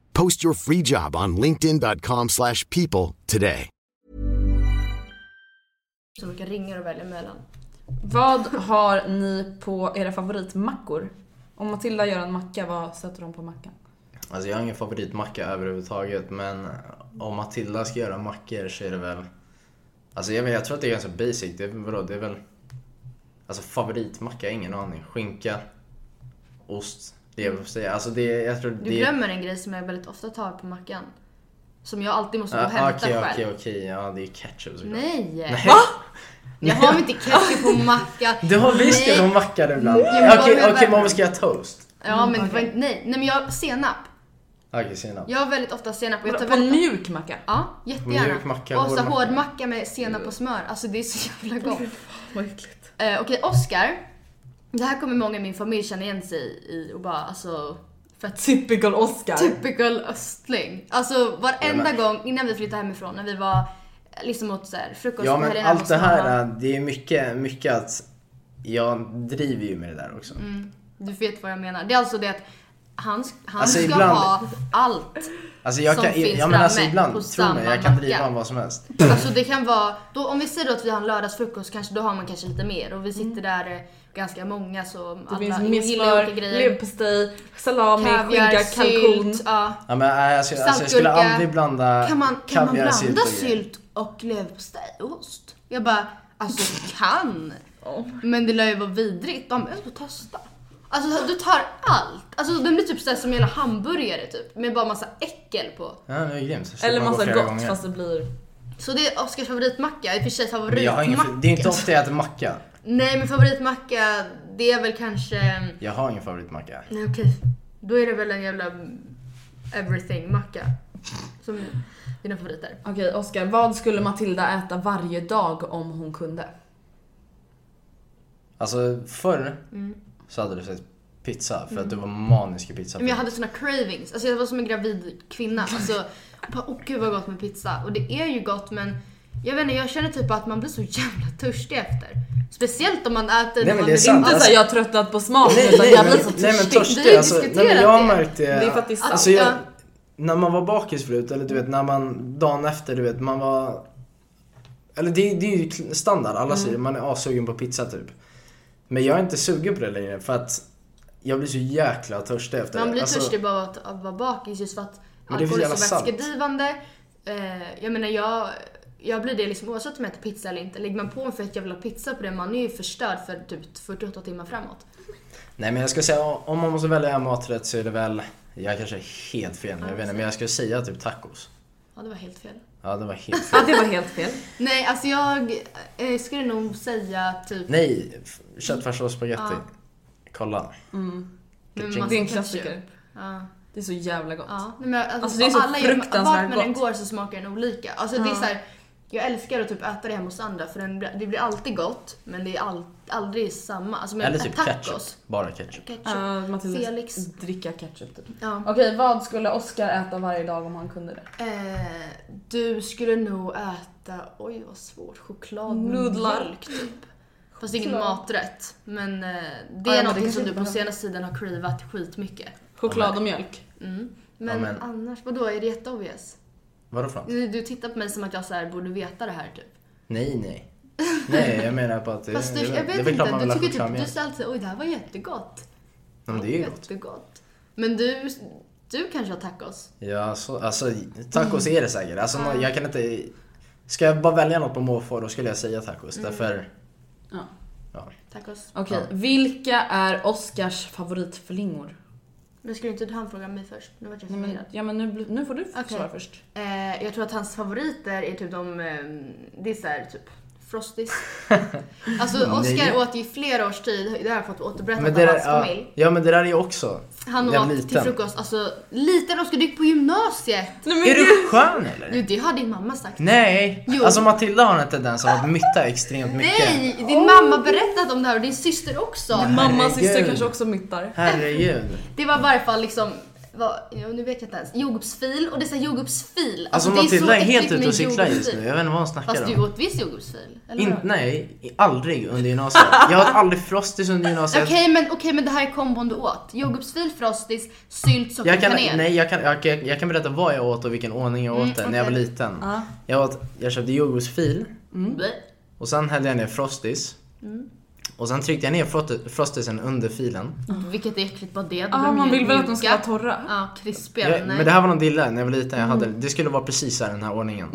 Speaker 6: Post your free job on linkedin.com/people slash people today.
Speaker 4: olika ringar att välja mellan.
Speaker 3: Vad har ni på era favoritmackor? Om Matilda gör en macka, vad sätter hon på mackan?
Speaker 5: Alltså jag har ingen favoritmacka överhuvudtaget men om Matilda ska göra mackor så är det väl Alltså jag, vet, jag tror att det är ganska basic, det är, väl- vadå, det är väl Alltså favoritmacka, ingen aning. Skinka, ost, leverpastej. Alltså det, är- jag tror
Speaker 4: Du
Speaker 5: det
Speaker 4: glömmer en grej som jag väldigt ofta tar på mackan. Som jag alltid måste gå och
Speaker 5: Ah,
Speaker 4: hämta
Speaker 5: Okej
Speaker 4: själv.
Speaker 5: okej okej, ja det är ketchup såklart.
Speaker 4: Nej!
Speaker 5: Va?
Speaker 4: Jag har inte ketchup på mackan.
Speaker 5: Du har visst det,
Speaker 4: Nej.
Speaker 5: de mackar ibland.
Speaker 4: men vad
Speaker 5: Okej okej
Speaker 4: menar du?
Speaker 5: men om vi ska göra toast?
Speaker 4: Ja men det var inte, nej. Nej men jag, senap.
Speaker 5: Okej senap.
Speaker 4: Jag har väldigt ofta senap och jag tar
Speaker 3: På en
Speaker 4: väldigt
Speaker 3: mjuk macka?
Speaker 4: Ja, jättegärna.
Speaker 5: Mjuk macka,
Speaker 4: och
Speaker 5: hård
Speaker 4: så
Speaker 5: macka.
Speaker 4: hårdmacka med senap och smör. Alltså det är så jävla gott.
Speaker 3: Vad äckligt.
Speaker 4: Eh, Okej, Oscar. Det här kommer många i min familj känna igen sig i och bara alltså... För att
Speaker 3: Typical Oscar.
Speaker 4: Typical östling. Alltså varenda gång innan vi flyttade hemifrån, när vi var liksom åt så här, frukost
Speaker 5: Ja
Speaker 4: på
Speaker 5: men
Speaker 4: helgen hemma
Speaker 5: allt
Speaker 4: hos
Speaker 5: det
Speaker 4: mamma.
Speaker 5: här, eh, det är mycket, mycket att jag driver ju med det där också.
Speaker 4: Mm. Du vet vad jag menar. Det är alltså det att han, han
Speaker 5: Alltså,
Speaker 4: ska
Speaker 5: ibland-
Speaker 4: ha allt.
Speaker 5: Alltså jag
Speaker 4: som
Speaker 5: kan,
Speaker 4: finns
Speaker 5: ja, men alltså
Speaker 4: framme på
Speaker 5: ibland, tro mig,
Speaker 4: samma
Speaker 5: jag kan
Speaker 4: macka.
Speaker 5: driva om vad som helst.
Speaker 4: Alltså det kan vara, då, om vi säger då att vi har en lördagsfrukost kanske, då har man kanske lite mer och vi sitter där eh, ganska många så
Speaker 3: Mm. Det
Speaker 4: alla
Speaker 3: finns mer
Speaker 4: gillar
Speaker 3: smör,
Speaker 4: olika grejer.
Speaker 3: leverpastej, salami, skinka,
Speaker 4: Kaviar,
Speaker 3: kalkon.
Speaker 4: sylt, ja.
Speaker 5: Ja, men, nej, alltså, alltså, jag skulle
Speaker 4: Saltgurka.
Speaker 5: aldrig blanda
Speaker 4: Kan man, kan man blanda
Speaker 5: sylt och grejer.
Speaker 4: sylt och leverpastej och ost? Jag bara, alltså kan. Men det lär ju vara vidrigt. De bara, jag ska testa. Alltså du tar allt. Alltså den blir typ såhär som hela hamburgare typ. Med bara massa äckel på.
Speaker 5: Ja, det är grymt. Så
Speaker 3: Eller
Speaker 5: Typ man går
Speaker 3: massa
Speaker 5: flera
Speaker 3: gott
Speaker 5: gånger.
Speaker 3: fast det blir...
Speaker 4: Så det är Oskars favoritmacka. I och för sig
Speaker 5: Men jag har ingen,
Speaker 4: favoritmacka.
Speaker 5: det är inte ofta jag äter macka.
Speaker 4: Nej men favoritmacka det är väl kanske...
Speaker 5: Jag har ingen favoritmacka.
Speaker 4: Nej okej. Då är det väl en jävla everything macka. Som dina favoriter.
Speaker 3: Okej Oscar, vad skulle Matilda äta varje dag om hon kunde?
Speaker 5: Alltså förr
Speaker 4: Mm.
Speaker 5: så hade du sett pizza för att du var manisk i pizza.
Speaker 4: Men jag hade såna cravings, alltså jag var som en gravid kvinna. Alltså, jag bara, åh gud vad gott med pizza. Och det är ju gott men Jag vet inte, jag känner typ att man blir så jävla törstig efter. Speciellt om man äter
Speaker 5: men
Speaker 4: när man
Speaker 5: det är sant.
Speaker 3: Inte såhär jag har tröttnat på smak
Speaker 5: Alltså- Nej,
Speaker 3: utan
Speaker 5: nej,
Speaker 3: jag
Speaker 5: men-
Speaker 3: blir så
Speaker 5: nej men
Speaker 3: törstig.
Speaker 4: Vi har
Speaker 5: törstig
Speaker 4: ju
Speaker 5: alltså, nej, men
Speaker 4: diskuterat
Speaker 5: jag har
Speaker 4: det.
Speaker 5: märkt det.
Speaker 3: Det är faktiskt sant.
Speaker 5: alltså, jag,
Speaker 4: Ja.
Speaker 5: När man var bakis förut, eller du vet när man dagen efter, du vet man var... Eller det, det är ju kl- standard, alla säger man är avsugen på pizza typ. Men jag är inte sugen på det längre för att jag blir så jäkla törstig efter
Speaker 4: Man blir
Speaker 5: Alltså,
Speaker 4: törstig bara av att, av att vara bakis just för att
Speaker 5: Men det är
Speaker 4: alkohol
Speaker 5: för
Speaker 4: är så
Speaker 5: jävla salt.
Speaker 4: vätskedrivande. Eh, jag menar jag, jag blir det liksom oavsett om jag äter pizza eller inte. Lägger man på en fet jävla pizza på det, man är ju förstörd för typ 48 timmar framåt.
Speaker 5: Nej men jag ska säga om man måste välja en maträtt så är det väl, jag kanske är helt fel nu, jag vet inte, men jag skulle säga typ tacos.
Speaker 4: Ja det var helt fel.
Speaker 5: Ja det var helt fel.
Speaker 3: Ja det var helt fel.
Speaker 4: Nej alltså jag eh, skulle nog säga typ
Speaker 5: Nej, f- köttfärssås och spagetti. Kolla.
Speaker 4: med
Speaker 5: Kaching.
Speaker 4: massa
Speaker 3: Det är en
Speaker 4: ketchup.
Speaker 3: klassiker.
Speaker 4: Ja.
Speaker 3: Det är så jävla gott.
Speaker 4: Ja, nej, men alltså,
Speaker 3: Alltså, det är så
Speaker 4: alla gör-
Speaker 3: fruktansvärt
Speaker 4: Vart man än
Speaker 3: gott.
Speaker 4: går så smakar den olika. Alltså, det är så här, jag älskar att typ äta det hemma hos andra för den, det blir alltid gott men det är all, aldrig samma. Alltså, men
Speaker 5: Eller typ
Speaker 4: tacos.
Speaker 5: ketchup. Bara ketchup.
Speaker 4: ketchup.
Speaker 3: Ja, Matilda,
Speaker 4: typ. Felix.
Speaker 3: Dricka ketchup typ.
Speaker 4: Ja.
Speaker 3: Okej, vad skulle Oscar äta varje dag om han kunde det?
Speaker 4: Eh, du skulle nog äta, oj vad svårt, choklad med
Speaker 3: Nudlar.
Speaker 4: mjölk typ. Fast det är ingen
Speaker 3: Choklad.
Speaker 4: maträtt. Men eh, det
Speaker 3: Ja,
Speaker 4: är
Speaker 3: men det
Speaker 4: någonting
Speaker 3: kanske
Speaker 4: som du
Speaker 3: inte
Speaker 4: på
Speaker 3: behöver.
Speaker 4: senaste tiden har cravat skitmycket.
Speaker 3: Choklad och mjölk.
Speaker 4: Men,
Speaker 5: Ja, men-
Speaker 4: annars, vadå är det jätteobvious?
Speaker 5: Vadå för något?
Speaker 4: Du, du tittar på mig som att jag så här, borde veta det här typ.
Speaker 5: Nej, nej. Nej, jag menar på att det,
Speaker 4: Fast du,
Speaker 5: det,
Speaker 4: jag
Speaker 5: det
Speaker 4: vet
Speaker 5: är väl klart man
Speaker 4: inte,
Speaker 5: vill
Speaker 4: du
Speaker 5: ha
Speaker 4: tycker
Speaker 5: choklad
Speaker 4: typ, du
Speaker 5: med.
Speaker 4: säger alltid oj det här var jättegott.
Speaker 5: Ja, men det är ju gott.
Speaker 4: Jättegott. Men du, du kanske har tacos?
Speaker 5: Ja, så, alltså tacos är det säkert. Alltså, nå- jag kan inte... Ska jag bara välja något på måfå då skulle jag säga tacos.
Speaker 4: Mm.
Speaker 5: Därför...
Speaker 3: Ja.
Speaker 5: Ja.
Speaker 4: Tacos.
Speaker 3: Okej, vilka är Oscars favoritflingor?
Speaker 4: Men skulle inte han fråga mig först? Nu vart jag
Speaker 3: Nej, men,
Speaker 4: förvirrad.
Speaker 3: ja, men nu, blir- nu får du
Speaker 4: Okej.
Speaker 3: svara först.
Speaker 4: Eh, jag tror att hans favoriter är typ de, eh, det är så här, typ Frosties. alltså
Speaker 5: Nej.
Speaker 4: Oscar åt ju i flera års tid, det har jag fått återberättat
Speaker 5: Men
Speaker 4: av
Speaker 5: det där,
Speaker 4: hans
Speaker 5: ja,
Speaker 4: familj.
Speaker 5: ja, men det där är ju också...
Speaker 4: Han
Speaker 5: när jag
Speaker 4: åt
Speaker 5: var
Speaker 4: till
Speaker 5: liten.
Speaker 4: frukost, alltså liten Oscar, du gick på gymnasiet!
Speaker 5: Är du skön eller?
Speaker 4: Jo det har din mamma sagt.
Speaker 5: Nej!
Speaker 4: Mm. Jo.
Speaker 5: Alltså Matilda har en tendens av att mytta extremt mycket.
Speaker 4: Nej! Din
Speaker 5: Oh.
Speaker 4: mamma har berättat om det här och din syster också.
Speaker 3: Mamma och
Speaker 5: Herregud.
Speaker 3: syster kanske också myttar.
Speaker 5: Herregud.
Speaker 4: Det var i varje fall liksom vad, ja, nu vet jag inte ens. Jordgubbsfil och det är såhär jordgubbsfil.
Speaker 5: Alltså
Speaker 4: det så
Speaker 5: Matilda är helt
Speaker 4: äckligt
Speaker 5: ute
Speaker 4: med
Speaker 5: och cyklar just
Speaker 4: jordgubbsfil.
Speaker 5: nu. Jag vet inte vad hon snackar
Speaker 4: Fast
Speaker 5: om.
Speaker 4: du åt visst jordgubbsfil? Eller
Speaker 5: In,
Speaker 4: hur?
Speaker 5: nej, i- aldrig under gymnasiet. Jag åt aldrig Frosties under
Speaker 4: Okej
Speaker 5: gymnasiet.
Speaker 4: men, okej, men det här är kombon du åt. Jordgubbsfil, frostis, sylt, socker,
Speaker 5: Jag kan,
Speaker 4: kanel.
Speaker 5: nej, jag, kan, jag, kan, jag kan berätta vad jag åt och vilken ordning jag åt det när jag var
Speaker 4: Mm, okej.
Speaker 5: liten. Jag, åt, jag köpte jordgubbsfil
Speaker 4: Blä.
Speaker 5: och sen hällde jag ner Frosties.
Speaker 4: Mm.
Speaker 5: Och sen tryckte jag ner frot- Frostisen under filen.
Speaker 4: Vilket är äckligt bara det. Då blir
Speaker 3: Ah,
Speaker 4: de
Speaker 3: man
Speaker 4: ju
Speaker 3: vill väl att de
Speaker 4: mjuka.
Speaker 3: ska vara torra?
Speaker 4: Ja, krispiga.
Speaker 5: Jag,
Speaker 4: nej. Mm.
Speaker 5: men det här var någon dille när jag var liten. Jag hade, Det skulle vara precis så här, den här ordningen.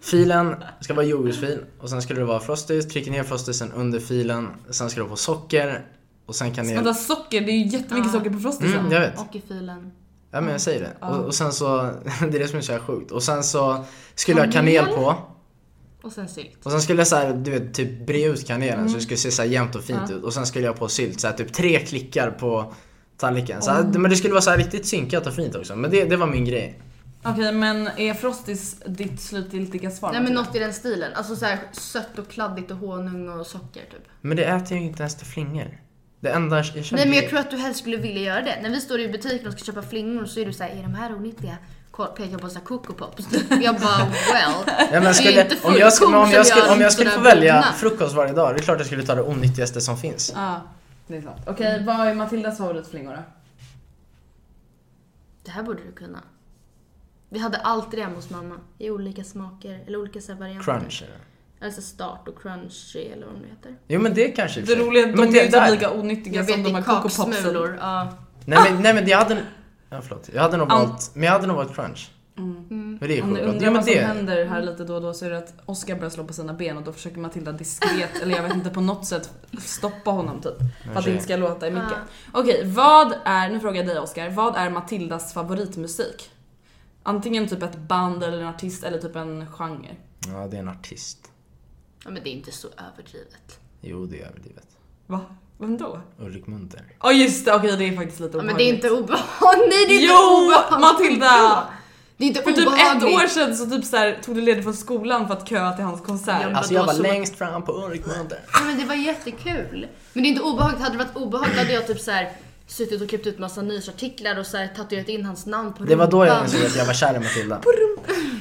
Speaker 5: Filen ska vara jordgubbsfil och sen skulle det vara Frosties. Trycker ner Frostisen under filen. Sen ska det vara på socker. Och sen kan jag...
Speaker 3: Vänta, socker, det är ju jättemycket socker på frostisen.
Speaker 5: Mm, jag vet.
Speaker 4: Och i filen.
Speaker 5: Ja men jag säger det. Och, och sen så, det är det som är så här sjukt. Och sen så skulle jag ha kanel på.
Speaker 4: Och sen sylt.
Speaker 5: Och sen skulle jag så här, du vet, typ bre ut kanelen
Speaker 4: Mm.
Speaker 5: så det skulle se så här jämnt och fint ut. Och sen skulle jag ha på sylt, så här, typ tre klickar på tallriken. Så här, Men det skulle vara så här riktigt synkat och fint också. Men det, det var min grej.
Speaker 3: Okej, men är frostis ditt slutgiltiga svar?
Speaker 4: Nej men
Speaker 3: Matilda?
Speaker 4: något i den stilen. Alltså såhär sött och kladdigt och honung och socker typ.
Speaker 5: Men det äter jag ju inte ens till flingor. Det enda jag känner
Speaker 4: Nej men jag tror att du helst skulle vilja göra det. När vi står i butiken och ska köpa flingor så är du såhär, är de här onyttiga? Kolla, Pekar på såhär Coco Pops. Jag bara well.
Speaker 5: Ja, men jag
Speaker 4: Det är
Speaker 5: skulle,
Speaker 4: inte
Speaker 5: om jag
Speaker 4: fullkorn
Speaker 5: skulle, om jag
Speaker 4: som
Speaker 5: skulle,
Speaker 4: gör
Speaker 5: om jag skulle få
Speaker 4: sådär
Speaker 5: välja
Speaker 4: mogna.
Speaker 5: frukost varje dag, det är klart jag skulle ta det onyttigaste som finns.
Speaker 3: Ja, det är sant. Okej, vad är Matildas favoritflingor då?
Speaker 4: Det här borde du kunna. Vi hade alltid det hemma hos mamma. I olika smaker, eller olika så här varianter.
Speaker 5: Crunch. eller?
Speaker 4: Alltså start och crunchy eller vad de nu heter.
Speaker 5: Jo men det kanske i och
Speaker 3: Det
Speaker 5: för sig-
Speaker 3: roliga är att
Speaker 5: Men
Speaker 3: de är ju
Speaker 5: där-
Speaker 3: inte lika onyttiga
Speaker 4: Jag
Speaker 3: som
Speaker 4: vet
Speaker 3: de
Speaker 4: det
Speaker 3: här
Speaker 4: är
Speaker 3: Coco Popsen.
Speaker 4: kaksmulor. Ja.
Speaker 5: Nej men, nej, men jag hade... Ja, förlåt. Jag hade nog
Speaker 3: An-
Speaker 5: valt... Men jag hade nog valt crunch. Men det är
Speaker 3: Om ni
Speaker 5: sjukt
Speaker 3: undrar
Speaker 5: bra. Ja, men
Speaker 3: vad som
Speaker 5: det...
Speaker 3: händer här lite då och då så är det att Oscar börjar slå på sina ben och då försöker Matilda diskret, eller jag vet inte, på något sätt stoppa honom typ. För att det inte ska låta i mycket. Okej, vad är, nu frågar jag dig Oscar, vad är Matildas favoritmusik? Antingen typ ett band eller en artist eller typ en genre.
Speaker 5: Ja, det är en artist.
Speaker 4: ja men det är inte så överdrivet.
Speaker 5: Jo, det är överdrivet.
Speaker 3: Va? Vem då?
Speaker 5: Ulrik Munter.
Speaker 3: Ja just det, okej det är faktiskt lite
Speaker 4: Ja men
Speaker 3: obehagligt.
Speaker 4: det är inte obehagligt. Nej det är
Speaker 3: Jo,
Speaker 4: inte obehagligt.
Speaker 3: Matilda!
Speaker 4: Det är inte
Speaker 3: För typ
Speaker 4: obehagligt.
Speaker 3: ett år sedan så typ så här, tog du ledigt från skolan för att köa till hans konsert.
Speaker 4: Ja, men-
Speaker 5: Alltså
Speaker 4: då
Speaker 5: jag var
Speaker 4: så-
Speaker 5: längst fram på Ulrik Munter.
Speaker 4: Ja, men det var jättekul. Men det är inte obehagligt. Hade det varit obehagligt hade jag typ så här suttit och klippt ut massa nyhetsartiklar och så här tatuerat in hans namn på
Speaker 5: Det var då jag
Speaker 4: rumpan.
Speaker 5: insåg att jag var kär i Matilda.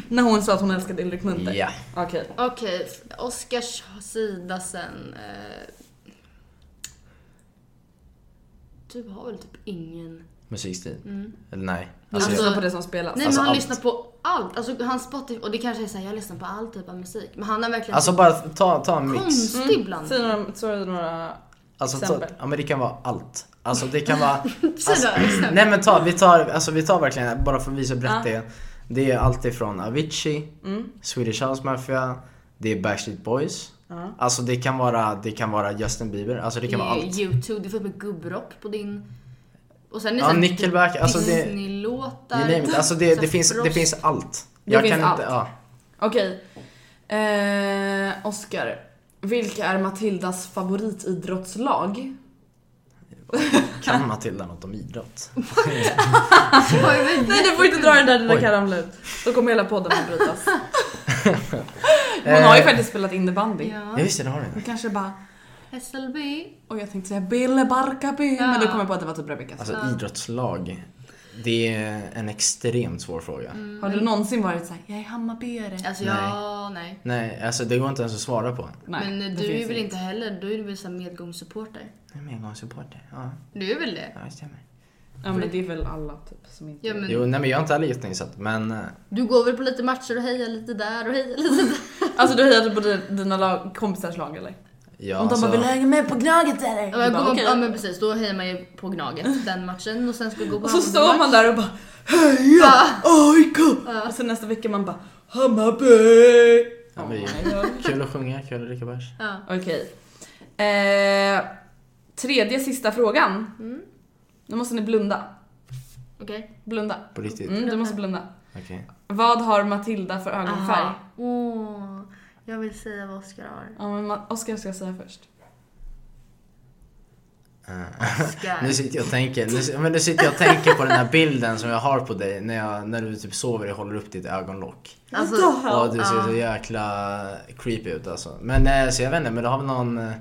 Speaker 3: När hon sa att hon älskade Ulrik Munther?
Speaker 5: Ja.
Speaker 3: Okej.
Speaker 4: Okej, Oscars sida sen. Eh, du har väl typ ingen...
Speaker 5: Musikstil? Eller nej.
Speaker 3: Alltså,
Speaker 5: Alltså,
Speaker 3: lyssna
Speaker 5: jag,
Speaker 3: på det som spelas.
Speaker 4: Nej
Speaker 5: Alltså,
Speaker 4: men han
Speaker 5: allt.
Speaker 4: lyssnar på allt. Alltså han Spotify, och det kanske är såhär, jag lyssnar på all typ av musik. Men han har verkligen
Speaker 5: alltså bara ta, ta en mix.
Speaker 4: konstig
Speaker 3: Mm.
Speaker 4: blandning.
Speaker 3: Säg några, säg några
Speaker 5: Alltså, ta,
Speaker 3: exempel.
Speaker 5: ja men det kan vara allt. Alltså det kan vara...
Speaker 4: Säg
Speaker 5: alltså,
Speaker 4: då, exempel.
Speaker 5: nej men ta, vi tar, alltså, vi tar verkligen, bara för att visa brett det. Det är allt ifrån Avicii,
Speaker 3: Mm.
Speaker 5: Swedish House Mafia, det är Backstreet Boys. Alltså det kan vara, det kan vara Justin Bieber, alltså det kan vara allt.
Speaker 4: Youtube, du får upp en gubbrock på din... Och sen är det
Speaker 5: Ja,
Speaker 4: såhär
Speaker 5: Nickelback, alltså det-
Speaker 4: Disney-låtar.
Speaker 5: You name it. Alltså det, det,
Speaker 4: Zac
Speaker 5: finns, det
Speaker 4: Efron.
Speaker 5: finns allt.
Speaker 3: Det finns allt.
Speaker 5: ja.
Speaker 3: Okej. Eh, Oscar. Vilka är Matildas favoritidrottslag?
Speaker 5: Kan Matilda något om idrott?
Speaker 3: Nej du får inte dra den där lilla karamlut. Då kommer hela podden att brytas. Hon har ju
Speaker 5: Eh.
Speaker 3: faktiskt spelat innebandy.
Speaker 5: Ja just det, det har du.
Speaker 3: Hon kanske bara,
Speaker 4: SLB.
Speaker 3: och jag tänkte säga Bille Barkaby. Men då kom jag på att det var typ Rebecca.
Speaker 5: Alltså idrottslag. Det är en extremt svår fråga.
Speaker 3: Har du någonsin varit såhär, jag är Hammarbyare?
Speaker 4: Alltså ja, nej.
Speaker 5: Nej, alltså det går inte ens att svara på.
Speaker 3: Nej,
Speaker 4: Men eh,
Speaker 3: det
Speaker 4: du är
Speaker 3: finns
Speaker 4: väl
Speaker 3: inget.
Speaker 4: inte heller, du är väl såhär medgångssupporter?
Speaker 5: Jag är medgångssupporter. Ja,
Speaker 4: Du är väl det?
Speaker 5: ja, det stämmer.
Speaker 3: Ja men det är väl alla typ som inte...
Speaker 4: Ja men
Speaker 5: Jo, nej men jag har inte heller gissningssatt men... eh,
Speaker 4: du går väl på lite matcher och hejar lite där och hejar lite där?
Speaker 3: Alltså du hejar typ på di- dina lag, kompisars lag eller?
Speaker 5: Ja,
Speaker 3: Om de
Speaker 5: alltså,
Speaker 3: bara, vill du hänga med på Gnaget eller?
Speaker 4: Ja, men,
Speaker 3: Du bara,
Speaker 4: går man,
Speaker 3: "Okej."
Speaker 4: ja men precis, då hejar man ju på Gnaget den matchen och sen ska vi gå på
Speaker 3: Och så står
Speaker 4: handbollsmatch.
Speaker 3: man där och bara Heja AIK! Och sen nästa vecka man bara Hammarby!
Speaker 5: Ja,
Speaker 3: Oh
Speaker 5: men-
Speaker 3: my God.
Speaker 5: Kul att sjunga, kul att dricka bärs.
Speaker 3: Okej. Eh, tredje sista frågan. Nu måste ni blunda.
Speaker 4: Okej.
Speaker 3: Blunda.
Speaker 5: På riktigt?
Speaker 3: Mm, du måste blunda.
Speaker 5: Okej.
Speaker 3: Vad har Matilda för ögonfärg?
Speaker 4: Aha. Åh, jag vill säga vad Oskar har.
Speaker 3: Ja, men Ma- Oskar ska säga först.
Speaker 4: Oskar.
Speaker 5: Nu sitter jag och tänker, nu, si- men nu sitter jag och tänker på den här bilden som jag har på dig när, jag, när du typ sover och håller upp ditt ögonlock.
Speaker 4: Alltså,
Speaker 5: Ja, du ser så jäkla creepy ut alltså. Men eh, så jag vet inte, men du har väl någon... eh,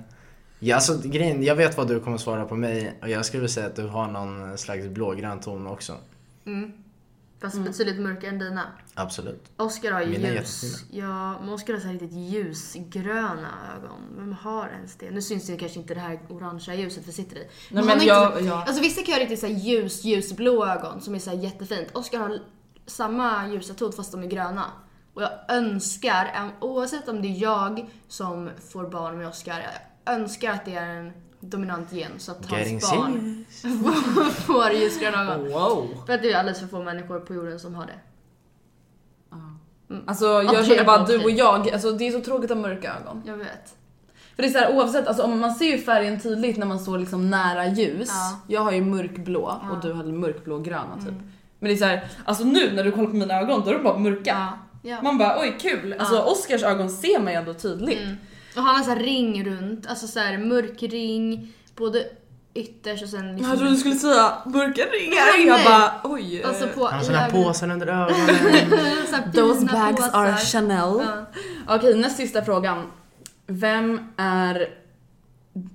Speaker 5: Ja, alltså grejen, jag vet vad du kommer svara på mig och jag skulle vilja säga att du har någon slags blågrön ton också.
Speaker 4: fast betydligt mörkare än dina.
Speaker 5: Absolut.
Speaker 4: Oskar har ju
Speaker 5: Mina är
Speaker 4: ljus. Ja, men Oskar har så här riktigt ljusgröna ögon. Vem har ens det? Nu syns det kanske inte det här orangea ljuset vi sitter i.
Speaker 3: Nej,
Speaker 4: han har
Speaker 3: men
Speaker 4: inte
Speaker 3: jag-
Speaker 4: så-
Speaker 3: jag-
Speaker 4: Alltså vissa kan ju ha riktigt så här ljus, ljusblå ögon som är så här jättefint. Oskar har samma ljusa ton fast de är gröna. Och jag önskar, äm, oavsett om det är jag som får barn med Oskar, jag önskar att det är en dominant gen så att
Speaker 5: Getting
Speaker 4: hans barn får ljusgröna ögon.
Speaker 3: Wow!
Speaker 4: För att det är alldeles för få människor på jorden som har det.
Speaker 3: Alltså jag
Speaker 4: Okej,
Speaker 3: känner bara att du
Speaker 4: okej.
Speaker 3: och jag, alltså det är så tråkigt att ha mörka ögon.
Speaker 4: Jag vet.
Speaker 3: För det är så här, oavsett, alltså, om man ser ju färgen tydligt när man står liksom nära ljus.
Speaker 4: Ja. Mm.
Speaker 3: Jag har ju mörkblå och du har mörkblågröna typ. Men det är så här, alltså nu när du kollar på mina ögon då är de bara mörka.
Speaker 4: Ja.
Speaker 3: Man bara oj kul, alltså Oscars ögon ser man ju ändå tydligt.
Speaker 4: Och han har så här ring runt, alltså så här mörk ring, både ytterst och sen liksom...
Speaker 3: Jag trodde du skulle säga mörka ringar
Speaker 4: Nej,
Speaker 3: jag
Speaker 4: nej.
Speaker 3: bara oj.
Speaker 4: Alltså på
Speaker 5: Han har såna här
Speaker 4: ögonen.
Speaker 5: påsar under ögonen.
Speaker 4: Så här
Speaker 3: Those
Speaker 4: fina
Speaker 3: bags
Speaker 4: påsar.
Speaker 3: are Chanel.
Speaker 4: Ja.
Speaker 3: Okej näst sista frågan. Vem är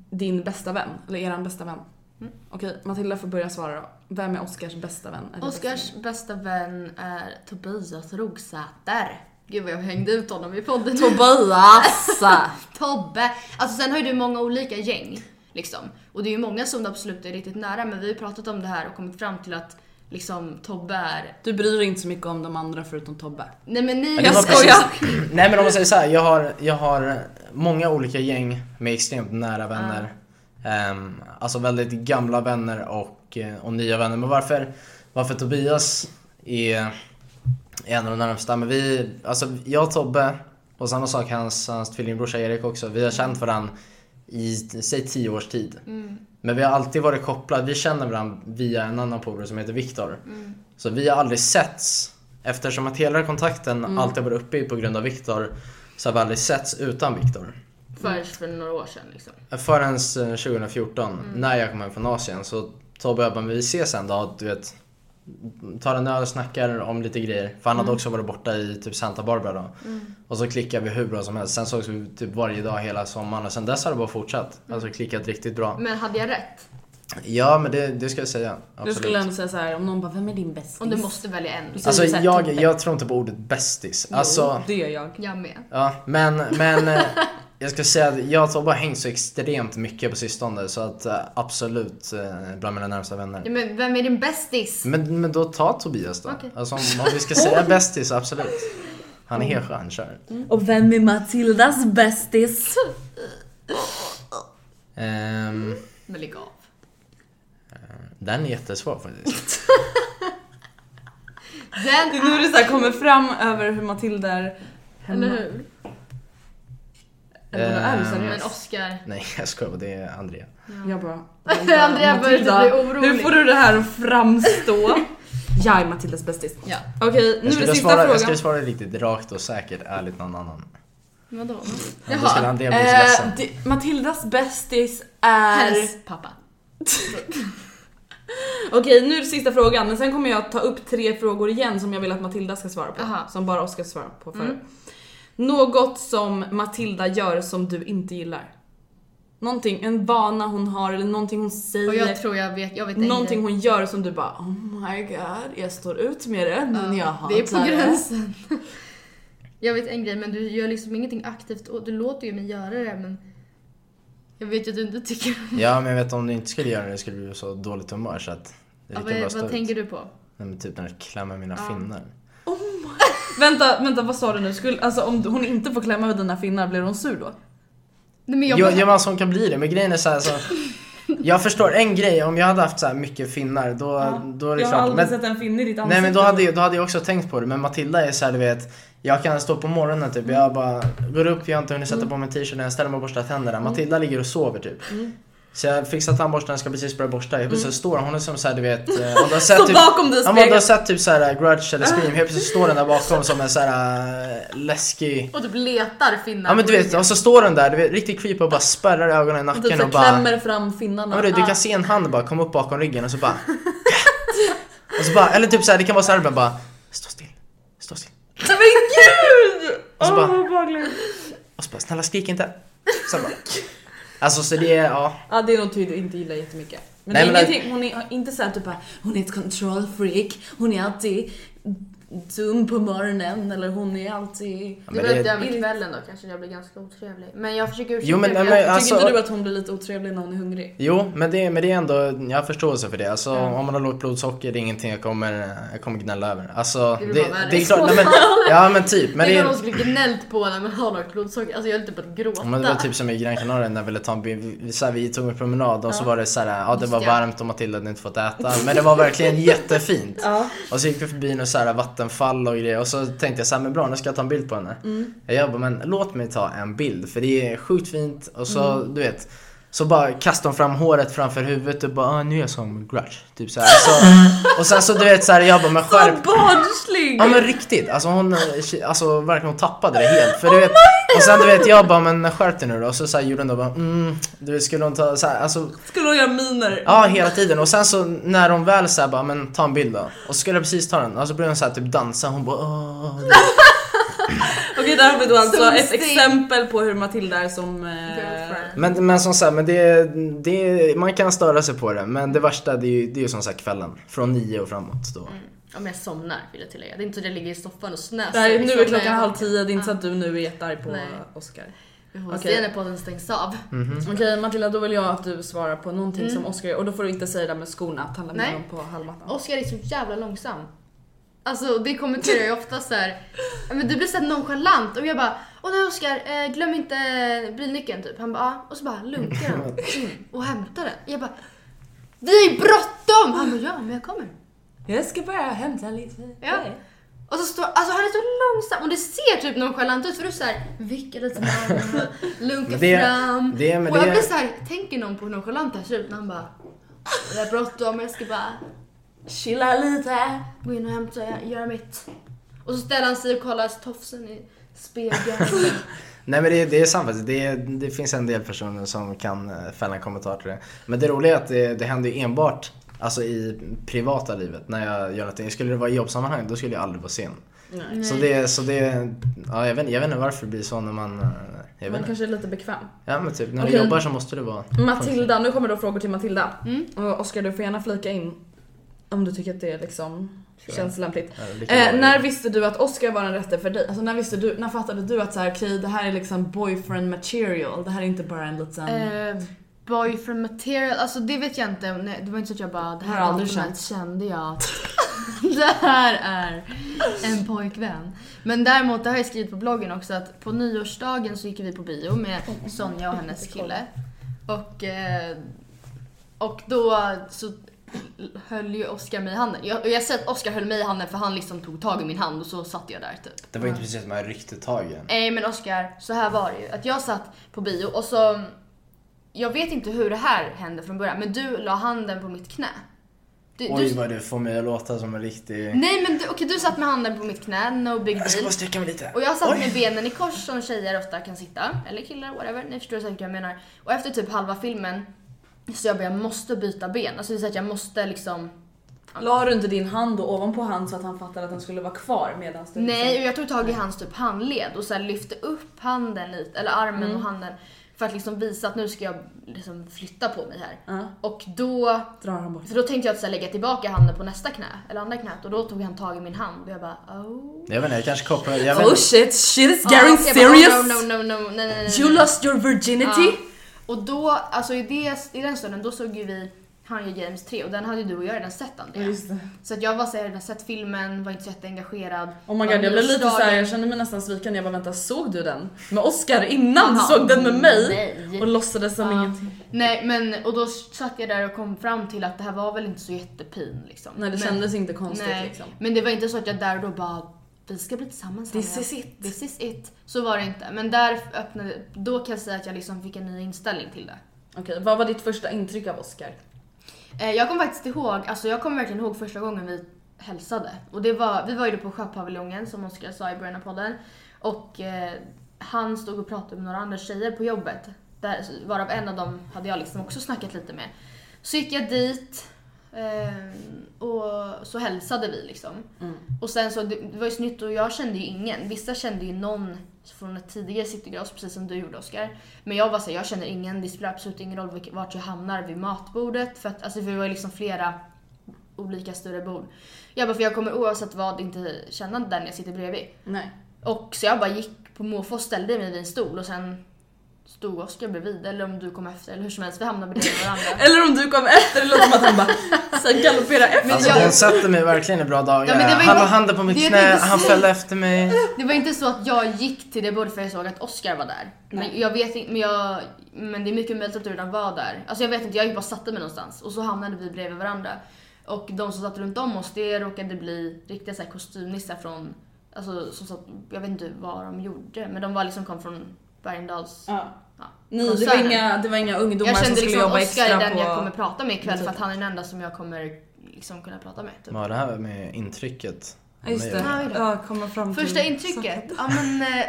Speaker 3: din bästa vän? Eller eran bästa vän?
Speaker 4: Mm.
Speaker 3: Okej Matilda får börja svara då. Vem är Oscars bästa vän? eller bästa
Speaker 4: Oscars bästa vän är Tobias Rogsäter. Gud vad jag hängde ut honom i podden.
Speaker 3: Tobias!
Speaker 4: Tobbe! Alltså sen har ju du många olika gäng. Liksom. Och det är ju många som du absolut är riktigt nära men vi har ju pratat om det här och kommit fram till att liksom Tobbe är...
Speaker 3: Du bryr dig inte så mycket om de andra förutom Tobbe.
Speaker 4: Nej men ni...
Speaker 5: Det var
Speaker 3: skojar.
Speaker 5: precis- Nej men om man säger så här, jag har, jag har många olika gäng med extremt nära vänner. Ehm, alltså väldigt gamla vänner och, eh, och nya vänner. Men varför, varför Tobias är, är en av de närmsta? Men vi, alltså jag och Tobbe och samma sak hans, hans tvillingbrorsa Erik också. Vi har känt varandra i säg tio års tid. Men vi har alltid varit kopplade, vi känner varandra via en annan polare som heter Viktor. Så vi har aldrig setts. Eftersom att hela kontakten alltid har varit uppe på grund av Viktor så har vi aldrig setts utan Viktor.
Speaker 4: Först för några år sedan liksom.
Speaker 5: Förrän eh, 2014
Speaker 3: Mm.
Speaker 5: när jag kom hem från Asien så Tobbe och jag bara, men vi ses en dag, du vet. Tar en öl och snackar om lite grejer. För han
Speaker 3: Mm.
Speaker 5: hade också varit borta i typ Santa Barbara då. Och så klickade vi hur bra som helst. Sen sågs
Speaker 3: Mm.
Speaker 5: vi typ varje dag hela sommaren och sen dess har det bara fortsatt. Alltså klickat riktigt bra.
Speaker 4: Men hade jag rätt?
Speaker 5: Ja, men det, det ska jag säga.
Speaker 3: Du
Speaker 5: Absolut.
Speaker 3: skulle ändå säga såhär, om någon bara, vem är din bästis?
Speaker 4: Om du måste välja en.
Speaker 3: Precis.
Speaker 5: Alltså
Speaker 3: Så här,
Speaker 5: jag,
Speaker 3: toppen.
Speaker 5: jag tror inte på ordet bästis. Alltså,
Speaker 3: Mm, Det är jag.
Speaker 4: Jag med.
Speaker 5: ja, men, men eh, jag ska säga att jag har bara hängt så extremt mycket på sistone så att eh, absolut eh, bland mina närmsta
Speaker 4: Ja,
Speaker 5: vänner.
Speaker 4: men vem är din bästis?
Speaker 5: Men, men då ta Tobias då.
Speaker 4: Okej.
Speaker 5: Alltså, om, om vi ska säga bästis, absolut. Han är helt skön, kör.
Speaker 7: Och vem är Matildas bästis?
Speaker 5: Ehm,
Speaker 4: Men lägg av.
Speaker 5: den är jättesvår faktiskt.
Speaker 3: Det
Speaker 4: Den
Speaker 3: är nu det så här kommer fram över hur Matilda är hemma.
Speaker 4: Eller hur?
Speaker 3: Eller vadå, är du
Speaker 5: Ehm,
Speaker 3: seriös?
Speaker 4: Men Oscar.
Speaker 5: Nej, jag skojar. Det är Andrea.
Speaker 3: Jag bara...
Speaker 4: Alltså, Andrea börjar typ
Speaker 3: Matilda,
Speaker 4: bli orolig.
Speaker 3: Hur får du det här att framstå? Jag är Matildas bästis.
Speaker 4: Ja.
Speaker 3: Okej, nu
Speaker 5: Jag
Speaker 3: är det
Speaker 5: skulle,
Speaker 3: sista
Speaker 5: svara, jag
Speaker 3: frågan.
Speaker 5: skulle svara riktigt rakt och säkert, ärligt, någon annan.
Speaker 4: Vadå?
Speaker 5: Ja, Då skulle Andrea bli så
Speaker 3: Eh,
Speaker 5: ledsen.
Speaker 3: det- Matildas bästis är...
Speaker 4: Hennes pappa.
Speaker 3: Okej, nu är det sista frågan, men sen kommer jag ta upp tre frågor igen som jag vill att Matilda ska svara på.
Speaker 4: Aha.
Speaker 3: Som bara Oskar svarar på förut. Något som Matilda gör som du inte gillar? Någonting, en vana hon har eller någonting hon
Speaker 4: Och
Speaker 3: säger.
Speaker 4: jag tror jag vet, jag vet en
Speaker 3: Någonting
Speaker 4: grej.
Speaker 3: hon gör som du bara oh my god, jag står ut med det men jag hatar
Speaker 4: Det är på gränsen. Jag vet en grej men du gör liksom ingenting aktivt och du låter ju mig göra det men jag vet ju att du inte tycker om det.
Speaker 5: Ja, men jag vet om du inte skulle göra det skulle du bli så dåligt humör så att det är
Speaker 4: Ja,
Speaker 5: lika bra
Speaker 4: vad,
Speaker 5: att stå
Speaker 4: vad
Speaker 5: ut.
Speaker 4: tänker du på?
Speaker 5: Nej, men typ när du klämmer mina finnar.
Speaker 3: Vänta, vänta vad sa du nu? Skulle, alltså om hon inte får klämma ut dina finnar, blir hon sur då?
Speaker 4: Nej, men jag,
Speaker 5: Jag, jag men alltså hon kan bli det, men grejen är så här, så Jag förstår en grej, om jag hade haft så här mycket finnar då, då är det
Speaker 3: jag har
Speaker 5: klart.
Speaker 3: aldrig
Speaker 5: Men,
Speaker 3: sett en finne i ditt ansikte.
Speaker 5: nej men då hade, jag- då hade jag också tänkt på det, men Matilda är så här, du vet. Jag kan stå på morgonen typ, jag bara går upp, jag har inte hunnit sätta
Speaker 3: Mm.
Speaker 5: på mig t-shirten, jag ställer mig och borstar tänderna. Matilda ligger och sover typ.
Speaker 3: Mm.
Speaker 5: Så jag fixar tandborsten, jag ska precis börja borsta, helt plötsligt står hon, hon är som såhär du vet eh, om du har sett
Speaker 3: Står Mm. bakom dig i
Speaker 5: Ja, men om du
Speaker 3: spegeln.
Speaker 5: har sett typ såhär grudge eller scream, helt plötsligt står den där bakom som en såhär äh, läskig
Speaker 4: och typ letar finnar
Speaker 5: Ja men
Speaker 4: på
Speaker 5: du vet,
Speaker 4: ryggen.
Speaker 5: och så står den där, du vet, riktigt creepy och bara spärrar ögonen i
Speaker 3: Hon typ
Speaker 5: nacken
Speaker 3: så
Speaker 5: och
Speaker 3: här
Speaker 5: bara
Speaker 3: klämmer fram finnarna.
Speaker 5: Ja, men du, du kan se en hand bara komma upp bakom ryggen och så bara Och så bara, eller typ såhär, det kan vara såhär men bara Stå still, stå still
Speaker 3: Men gud!
Speaker 5: Och så
Speaker 3: Åh
Speaker 5: bara-
Speaker 3: vad obehagligt.
Speaker 5: Och så bara, snälla skrik inte Sen bara Alltså så det är, ja
Speaker 3: Ja det är något du inte gillar jättemycket. Men
Speaker 5: Nej,
Speaker 3: det är
Speaker 5: men-
Speaker 3: ingenting, hon är inte såhär typ bara, hon är ett control freak, hon är alltid dum på morgonen eller hon är alltid...
Speaker 4: Det
Speaker 5: Ja, men
Speaker 4: är väl att
Speaker 5: det-
Speaker 4: jag med kvällen då kanske jag blir ganska otrevlig. Men jag försöker ursäkta
Speaker 5: Jo, men-
Speaker 4: mig.
Speaker 5: men-
Speaker 4: Jag-
Speaker 5: Alltså-
Speaker 3: Tycker inte du att hon blir lite otrevlig när hon är hungrig?
Speaker 5: Jo, men det, men det är ändå, jag har förståelse för det. Alltså, Om man har lågt blodsocker, det är ingenting jag kommer, jag kommer gnälla över. Alltså,
Speaker 4: Det
Speaker 5: det,
Speaker 4: blir
Speaker 5: det,
Speaker 4: bara värre.
Speaker 5: är klart, nej, men, ja men typ. Men
Speaker 4: Tänk
Speaker 5: det,
Speaker 4: om någon
Speaker 5: är-
Speaker 4: skulle gnällt på när man har lågt blodsocker. Alltså jag höll typ på att gråta.
Speaker 5: men det var typ som i Gran Canaria när vi ville ta en bi- så här, vi tog en promenad och så var det så här, ja det var
Speaker 4: Just ja.
Speaker 5: varmt och Matilda hade inte fått äta. Men det var verkligen jättefint. Och så gick vi förbi några så här vattenfall och grejer och så tänkte jag så här, men bra nu ska jag ta en bild på henne. Jag bara, men låt mig ta en bild för det är sjukt fint och så, du vet. Så bara kastar hon fram håret framför huvudet och bara ah, nu är jag som Grudge. Typ så här. Så, och sen så du vet så här, jag bara men skärp
Speaker 3: Barnslig!
Speaker 5: Ja men riktigt, alltså hon, alltså verkligen hon tappade det helt. För du vet, och sen du vet jag bara men skärp dig nu då. Och så, så här, gjorde hon då bara mm, du vet, skulle hon ta så här, alltså
Speaker 3: Skulle hon göra miner?
Speaker 5: Ja, hela tiden. Och sen så när hon väl såhär bara, men ta en bild då. Och så skulle jag precis ta den. Och så började hon såhär typ dansa. Hon bara, "Åh."
Speaker 3: Okej där har vi då alltså
Speaker 4: Som
Speaker 3: ett
Speaker 4: sting.
Speaker 3: exempel på hur Matilda är som... Eh,
Speaker 4: Girlfriend.
Speaker 5: men, men som sagt, men det, det, man kan störa sig på det. Men det värsta det är ju, det är ju som sagt kvällen. Från nio och framåt då.
Speaker 4: Om jag somnar vill jag tillägga. Det är inte så att jag ligger i soffan och snäser.
Speaker 3: Nej nu är
Speaker 4: Somnar
Speaker 3: klockan
Speaker 4: jag-
Speaker 3: halv tio, det är inte så att du nu är jättearg på
Speaker 4: Nej.
Speaker 3: Oscar.
Speaker 4: Vi får
Speaker 3: Okej.
Speaker 4: se när podden stängs av.
Speaker 5: Mm.
Speaker 3: Okej Matilda, då vill jag att du svarar på någonting som Oscar gör och då får du inte säga det där med skorna, att han lämnar
Speaker 4: Mm. Nej.
Speaker 3: dem på halmmattan.
Speaker 4: Oskar är så jävla långsam. Alltså det kommenterar jag ofta så här. "Ja, Men du blir såhär nonchalant och jag bara Åh nej Oskar, eh, glöm inte bilnyckeln typ. Han bara "Ja." och så bara lunkar han in och hämtar den. Jag bara Vi har ju bråttom! Han bara ja men jag kommer.
Speaker 3: Jag ska bara hämta lite.
Speaker 4: Ja. Och så står, alltså han är så långsam och det ser typ nonchalant ut för du såhär vickar lite med armarna, lunkar
Speaker 5: Det-
Speaker 4: fram.
Speaker 5: det- men
Speaker 4: och jag
Speaker 5: det-
Speaker 4: blir såhär, tänker någon på hur nonchalant han ser ut när han bara Jag har bråttom, jag ska bara
Speaker 3: Chilla lite.
Speaker 4: Gå in och hämta, göra mitt. Och så ställer han sig och kollar tofsen i spegeln.
Speaker 5: Nej men det, det är sant faktiskt. Det, det finns en del personer som kan eh, fälla en kommentar till det. Men det roliga är att det, det händer ju enbart alltså, i privata livet när jag gör någonting. Skulle det vara i jobbsammanhang då skulle jag aldrig vara sen. Så det, så det, ja, jag, vet, jag vet inte varför det blir så när man eh, Jag vet
Speaker 3: Man
Speaker 5: inte.
Speaker 3: kanske är lite bekväm.
Speaker 5: Ja men typ, när du
Speaker 3: Okej.
Speaker 5: jobbar så måste du vara...
Speaker 4: Mm.
Speaker 3: Matilda, nu kommer då frågor till Matilda. Och Oskar du får gärna flika in om du tycker att det liksom känns lämpligt.
Speaker 5: Ja, det kan
Speaker 3: Eh,
Speaker 5: vara-
Speaker 3: när visste du att Oskar var den rätte för dig? Alltså när visste du, när fattade du att så här, okej det här är liksom boyfriend material, det här är inte bara en liten...
Speaker 4: Eh, boyfriend material, alltså det vet jag inte. Nej, det var inte så att jag bara, det här
Speaker 3: Har
Speaker 4: är
Speaker 3: aldrig
Speaker 4: något som
Speaker 3: känt.
Speaker 4: helst, kände jag att det här är en pojkvän. Men däremot, det har jag skrivit på bloggen också, att på nyårsdagen så gick vi på bio med Sonja och hennes kille. Och, eh, och då så höll ju Oscar mig i handen. Jag, och jag säger att Oscar höll mig i handen för han liksom tog tag i min hand och så satt jag där typ.
Speaker 5: Det var inte precis som jag ryckte tag i en.
Speaker 4: Nej men Oscar, så här var det ju. Att jag satt på bio och så... Jag vet inte hur det här hände från början, men du la handen på mitt knä. Du, Mm.
Speaker 5: Oj
Speaker 4: du,
Speaker 5: vad du får mig att låta som en riktig...
Speaker 4: nej men du, okej, du satt med handen på mitt knä, no big
Speaker 5: Jag ska bara
Speaker 4: deal.
Speaker 5: sträcka mig lite.
Speaker 4: Och jag satt
Speaker 5: Oj.
Speaker 4: med benen i kors som tjejer ofta kan sitta, eller killar, whatever. Ni förstår säkert vad jag menar. Och efter typ halva filmen så jag bara, jag måste byta ben. Alltså det är så att jag måste liksom...
Speaker 7: La du inte din hand då ovanpå han så att han fattade att den skulle vara kvar medan du
Speaker 4: Nej,
Speaker 7: liksom-
Speaker 4: och jag tog tag i hans typ handled och så här lyfte upp handen lite, eller armen
Speaker 7: Mm.
Speaker 4: och handen. För att liksom visa att nu ska jag liksom flytta på mig här.
Speaker 7: Ja.
Speaker 4: Och då,
Speaker 7: drar han bort.
Speaker 4: för då tänkte jag att så här, lägga tillbaka handen på nästa knä, eller andra knät. Och då tog han tag i min hand och jag bara oh.
Speaker 5: Jag vet inte, jag kanske kopplar... Jag vet
Speaker 7: Oh
Speaker 5: inte.
Speaker 7: shit, shit is
Speaker 4: Ja,
Speaker 7: getting
Speaker 4: så jag bara,
Speaker 7: serious!
Speaker 4: oh, no, no, no, no, nej, nej, nej, nej.
Speaker 7: You lost your virginity!
Speaker 4: Och då, alltså i, det, i den stunden, då såg ju vi Hunger Games 3 och den hade ju du och jag redan sett Andrea. Så att jag var såhär, redan sett filmen, var inte så jätteengagerad.
Speaker 7: Oh my god, jag blev lite såhär, jag kände mig nästan sviken. Jag bara vänta, såg du den? Med Oscar innan du
Speaker 4: Jaha,
Speaker 7: såg den med mig?
Speaker 4: nej.
Speaker 7: Och låtsades som
Speaker 4: Ja.
Speaker 7: ingenting.
Speaker 4: Nej men och då satt jag där och kom fram till att det här var väl inte så jättepin liksom.
Speaker 7: Nej det
Speaker 4: men,
Speaker 7: kändes inte konstigt
Speaker 4: nej,
Speaker 7: liksom.
Speaker 4: Men det var inte så att jag där och då bara vi ska bli tillsammans.
Speaker 7: This
Speaker 4: Anja.
Speaker 7: is it.
Speaker 4: This is it. Så var det inte. Men där öppnade, då kan jag säga att jag liksom fick en ny inställning till det.
Speaker 7: Okej, vad var ditt första intryck av Oscar?
Speaker 4: Eh, Jag kommer faktiskt ihåg, alltså jag kommer verkligen ihåg första gången vi hälsade. Och det var, vi var ju då på Sjöpaviljongen som Oskar sa i början av podden. Och eh, han stod och pratade med några andra tjejer på jobbet. Där, varav en av dem hade jag liksom också snackat lite med. Så gick jag dit eh, och så hälsade vi liksom. Och sen så, det, det var ju så nytt och jag kände ju ingen. Vissa kände ju någon från ett tidigare Citygross, precis som du gjorde Oskar. Men jag var såhär, jag känner ingen, det spelar absolut ingen roll vilk- vart jag hamnar vid matbordet. För att alltså, vi var ju liksom flera olika större bord. Jag bara, för jag kommer oavsett vad inte känna den jag sitter bredvid.
Speaker 7: Nej.
Speaker 4: Och så jag bara gick på måfå och ställde mig vid en stol och sen stod Oskar bredvid, eller om du kom efter, eller hur som helst, vi hamnade bredvid varandra.
Speaker 7: Eller om du kom efter, det låter som att han bara så här galopperade efter.
Speaker 5: Alltså
Speaker 4: jag-
Speaker 5: hon satte mig verkligen i bra
Speaker 4: Ja,
Speaker 5: dagar.
Speaker 4: men det var
Speaker 5: han la
Speaker 4: inte-
Speaker 5: handen på
Speaker 4: det
Speaker 5: mitt
Speaker 4: är
Speaker 5: knä,
Speaker 4: inte-
Speaker 5: han följde efter mig.
Speaker 4: Det var inte så att jag gick till det bordet för jag såg att Oscar var där. Men jag vet inte, men, jag, men det är mycket möjligt att du redan var där. Alltså jag vet inte, jag gick bara och satte mig någonstans och så hamnade vi bredvid varandra. Och de som satt runt om oss, det råkade bli riktiga så här kostymnissar från, alltså som satt, jag vet inte vad de gjorde, men de var liksom kom från Bergendals.
Speaker 7: Ja.
Speaker 4: Ja.
Speaker 7: Nej, det var,
Speaker 4: koncernen.
Speaker 7: inga, det var inga ungdomar
Speaker 4: Jag
Speaker 7: som
Speaker 4: kände
Speaker 7: skulle
Speaker 4: liksom
Speaker 7: jobba
Speaker 4: att Oscar
Speaker 7: extra
Speaker 4: är den
Speaker 7: på...
Speaker 4: jag kommer prata med ikväll för
Speaker 7: Typ.
Speaker 4: att han är den enda som jag kommer liksom kunna prata med. Typ.
Speaker 5: Vad var det här med intrycket?
Speaker 3: Ja, just det.
Speaker 4: Ja, det är det.
Speaker 3: Ja, komma fram till...
Speaker 4: Första intrycket? Ja men... eh,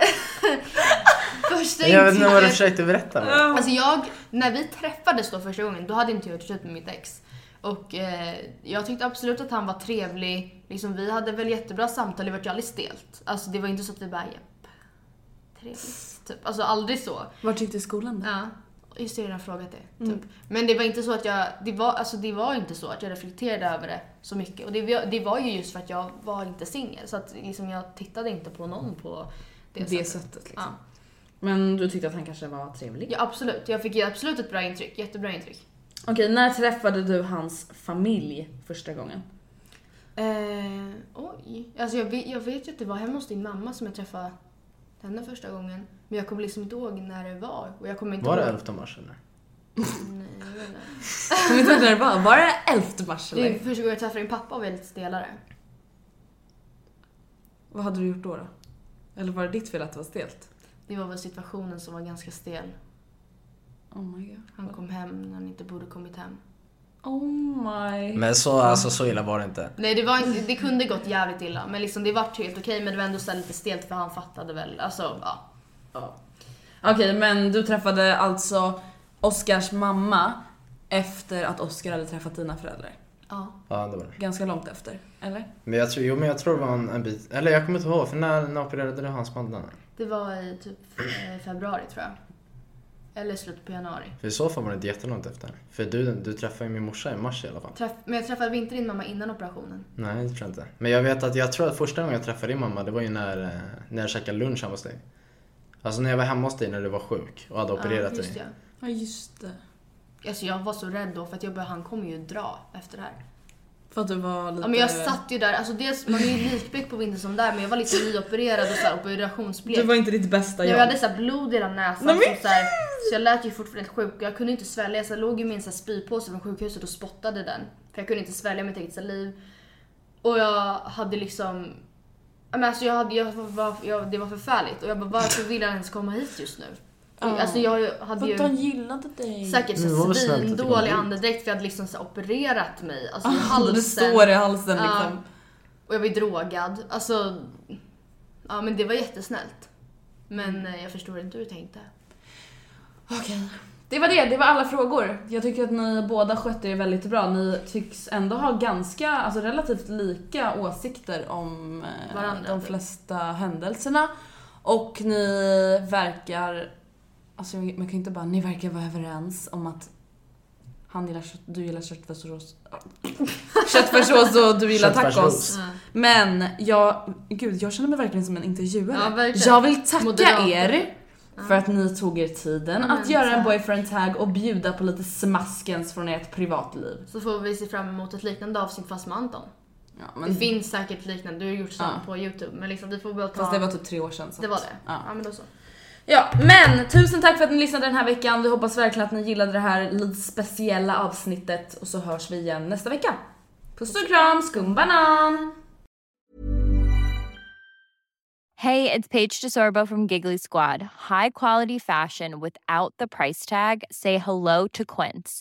Speaker 4: första
Speaker 5: Jag vet inte vad du
Speaker 4: intrycket.
Speaker 5: försökte berätta. men-
Speaker 4: Alltså jag, när vi träffades då första gången, då hade inte jag gjort slut med mitt ex. Och eh, jag tyckte absolut att han var trevlig. Liksom, vi hade väl jättebra samtal, det vart ju aldrig stelt. Alltså det var inte så att vi bara japp, trevligt. Typ. Alltså aldrig så.
Speaker 7: Vart gick du i skolan då?
Speaker 4: Ja, just det, jag har redan frågat det. Typ. Men det var inte så att jag, det var, alltså det var inte så att jag reflekterade över det så mycket. Och det, var- det var ju just för att jag var inte singel. Så att liksom jag tittade inte på någon på det,
Speaker 7: Det
Speaker 4: sättet.
Speaker 7: sättet liksom.
Speaker 4: Ja.
Speaker 7: Men du tyckte att han kanske var trevlig?
Speaker 4: Ja absolut, jag fick ju absolut ett bra intryck, jättebra intryck.
Speaker 7: Okej, när träffade du hans familj första gången?
Speaker 4: Eh, oj, alltså jag vet, jag vet ju att det var hemma hos din mamma som jag träffade henne första gången. Men jag kommer liksom inte ihåg när det var. Och jag kommer inte
Speaker 5: Var det
Speaker 4: ihåg.
Speaker 5: 11 mars eller?
Speaker 7: Kommer inte ihåg när det var. Var det 11 mars
Speaker 4: Det är
Speaker 7: eller?
Speaker 4: första gången jag träffade din pappa och var lite stelare.
Speaker 3: Vad hade du gjort då, då? Eller var det ditt fel att det var stelt?
Speaker 4: Det var väl situationen som var ganska stel.
Speaker 7: Oh my god.
Speaker 4: Han kom hem när han inte borde kommit hem.
Speaker 7: Oh my...
Speaker 5: Men så, alltså, så illa var det inte.
Speaker 4: Nej det, var inte, det kunde gått jävligt illa men liksom det vart helt okej men det var ändå så här lite stelt för han fattade väl. Alltså ja.
Speaker 7: Ja. Okej, men du träffade alltså Oscars mamma efter att Oscar hade träffat dina föräldrar?
Speaker 4: Ja.
Speaker 5: Ja, det var det.
Speaker 3: Ganska långt efter, eller?
Speaker 5: Men jag tror, jo men jag tror det var en, en bit, eller jag kommer inte ihåg för när, när opererade du halsbanden?
Speaker 4: Det var i typ eh, februari tror jag. Eller slutet på januari.
Speaker 5: För i så fall var det inte jättelångt efter. För du, du träffade ju min morsa i mars i alla fall.
Speaker 4: Träff, men jag träffade inte din mamma innan operationen.
Speaker 5: Nej, det tror jag inte. Men jag vet att jag tror att första gången jag träffade din mamma det var ju när, eh, när jag käkade lunch hemma hos dig. Alltså när jag var hemma hos dig när du var sjuk och hade opererat
Speaker 4: just
Speaker 5: dig.
Speaker 4: det.
Speaker 3: Ja, just det.
Speaker 4: Alltså jag var så rädd då för att jag bara, han kommer ju dra efter det här.
Speaker 3: För att du var lite...
Speaker 4: Ja men jag satt ju där, alltså dels, man är ju likblek på vintern som där men jag var lite nyopererad och så här, operationsblek.
Speaker 3: Du var inte ditt bästa
Speaker 4: jag
Speaker 3: jag.
Speaker 4: hade så här blod i hela näsan
Speaker 3: Nej, men
Speaker 4: som så, här, så jag lät ju fortfarande helt sjuk. Jag kunde inte svälja så jag låg i min så här spypåse från sjukhuset och spottade den. För jag kunde inte svälja mitt eget saliv. Och jag hade liksom... ja, Men alltså jag hade, jag var, jag, det var förfärligt och jag bara varför vill han ens komma hit just nu? Alltså jag hade
Speaker 3: För att han
Speaker 4: ju
Speaker 3: gillade dig.
Speaker 4: säkert
Speaker 5: Det var
Speaker 4: så
Speaker 5: väl snällt att det kom
Speaker 4: svindålig
Speaker 5: hit.
Speaker 4: andedräkt för jag hade liksom så här opererat mig. Alltså i
Speaker 3: Halsen.
Speaker 4: halsen.
Speaker 3: Ah, Det står i halsen
Speaker 4: Ja.
Speaker 3: liksom.
Speaker 4: Och jag var ju drogad. Alltså, ja men det var jättesnällt. Men eh, jag förstår inte hur du tänkte.
Speaker 3: Okej. Det var det, det var alla frågor. Jag tycker att ni båda skötte er väldigt bra. Ni tycks ändå ha ganska, alltså relativt lika åsikter om eh,
Speaker 4: Varandra.
Speaker 3: de flesta händelserna. Och ni verkar, alltså jag- man kan ju inte bara, ni verkar vara överens om att han gillar kött, du gillar köttfärssås. Köttfärssås och du gillar tacos.
Speaker 5: Köttfärssås.
Speaker 3: Men jag, gud jag känner mig verkligen som en intervjuare.
Speaker 4: Ja, verkligen.
Speaker 3: jag vill tacka
Speaker 4: Moderator.
Speaker 3: er för att ni tog er tiden
Speaker 4: men
Speaker 3: att göra
Speaker 4: så
Speaker 3: en
Speaker 4: här.
Speaker 3: boyfriend tag och bjuda på lite smaskens från ert privatliv.
Speaker 4: Så får vi se fram emot ett liknande avsnitt fast med Anton.
Speaker 3: Ja,
Speaker 4: Det
Speaker 3: men,
Speaker 4: finns säkert liknande, du har gjort sånt
Speaker 3: Ja.
Speaker 4: på youtube. Men liksom vi får väl ta...
Speaker 3: fast det var typ tre år sedan. Så
Speaker 4: det, var
Speaker 3: att-
Speaker 4: det.
Speaker 3: Ja.
Speaker 4: Ja. men då så.
Speaker 3: Ja, men tusen tack för att ni lyssnade den här veckan. Vi hoppas verkligen att ni gillade det här lite speciella avsnittet och så hörs vi igen nästa vecka. Puss och kram, skumbanan!
Speaker 8: Hey, it's Paige DeSorbo from Giggly Squad. High quality fashion without the price tag. Say hello to Quince.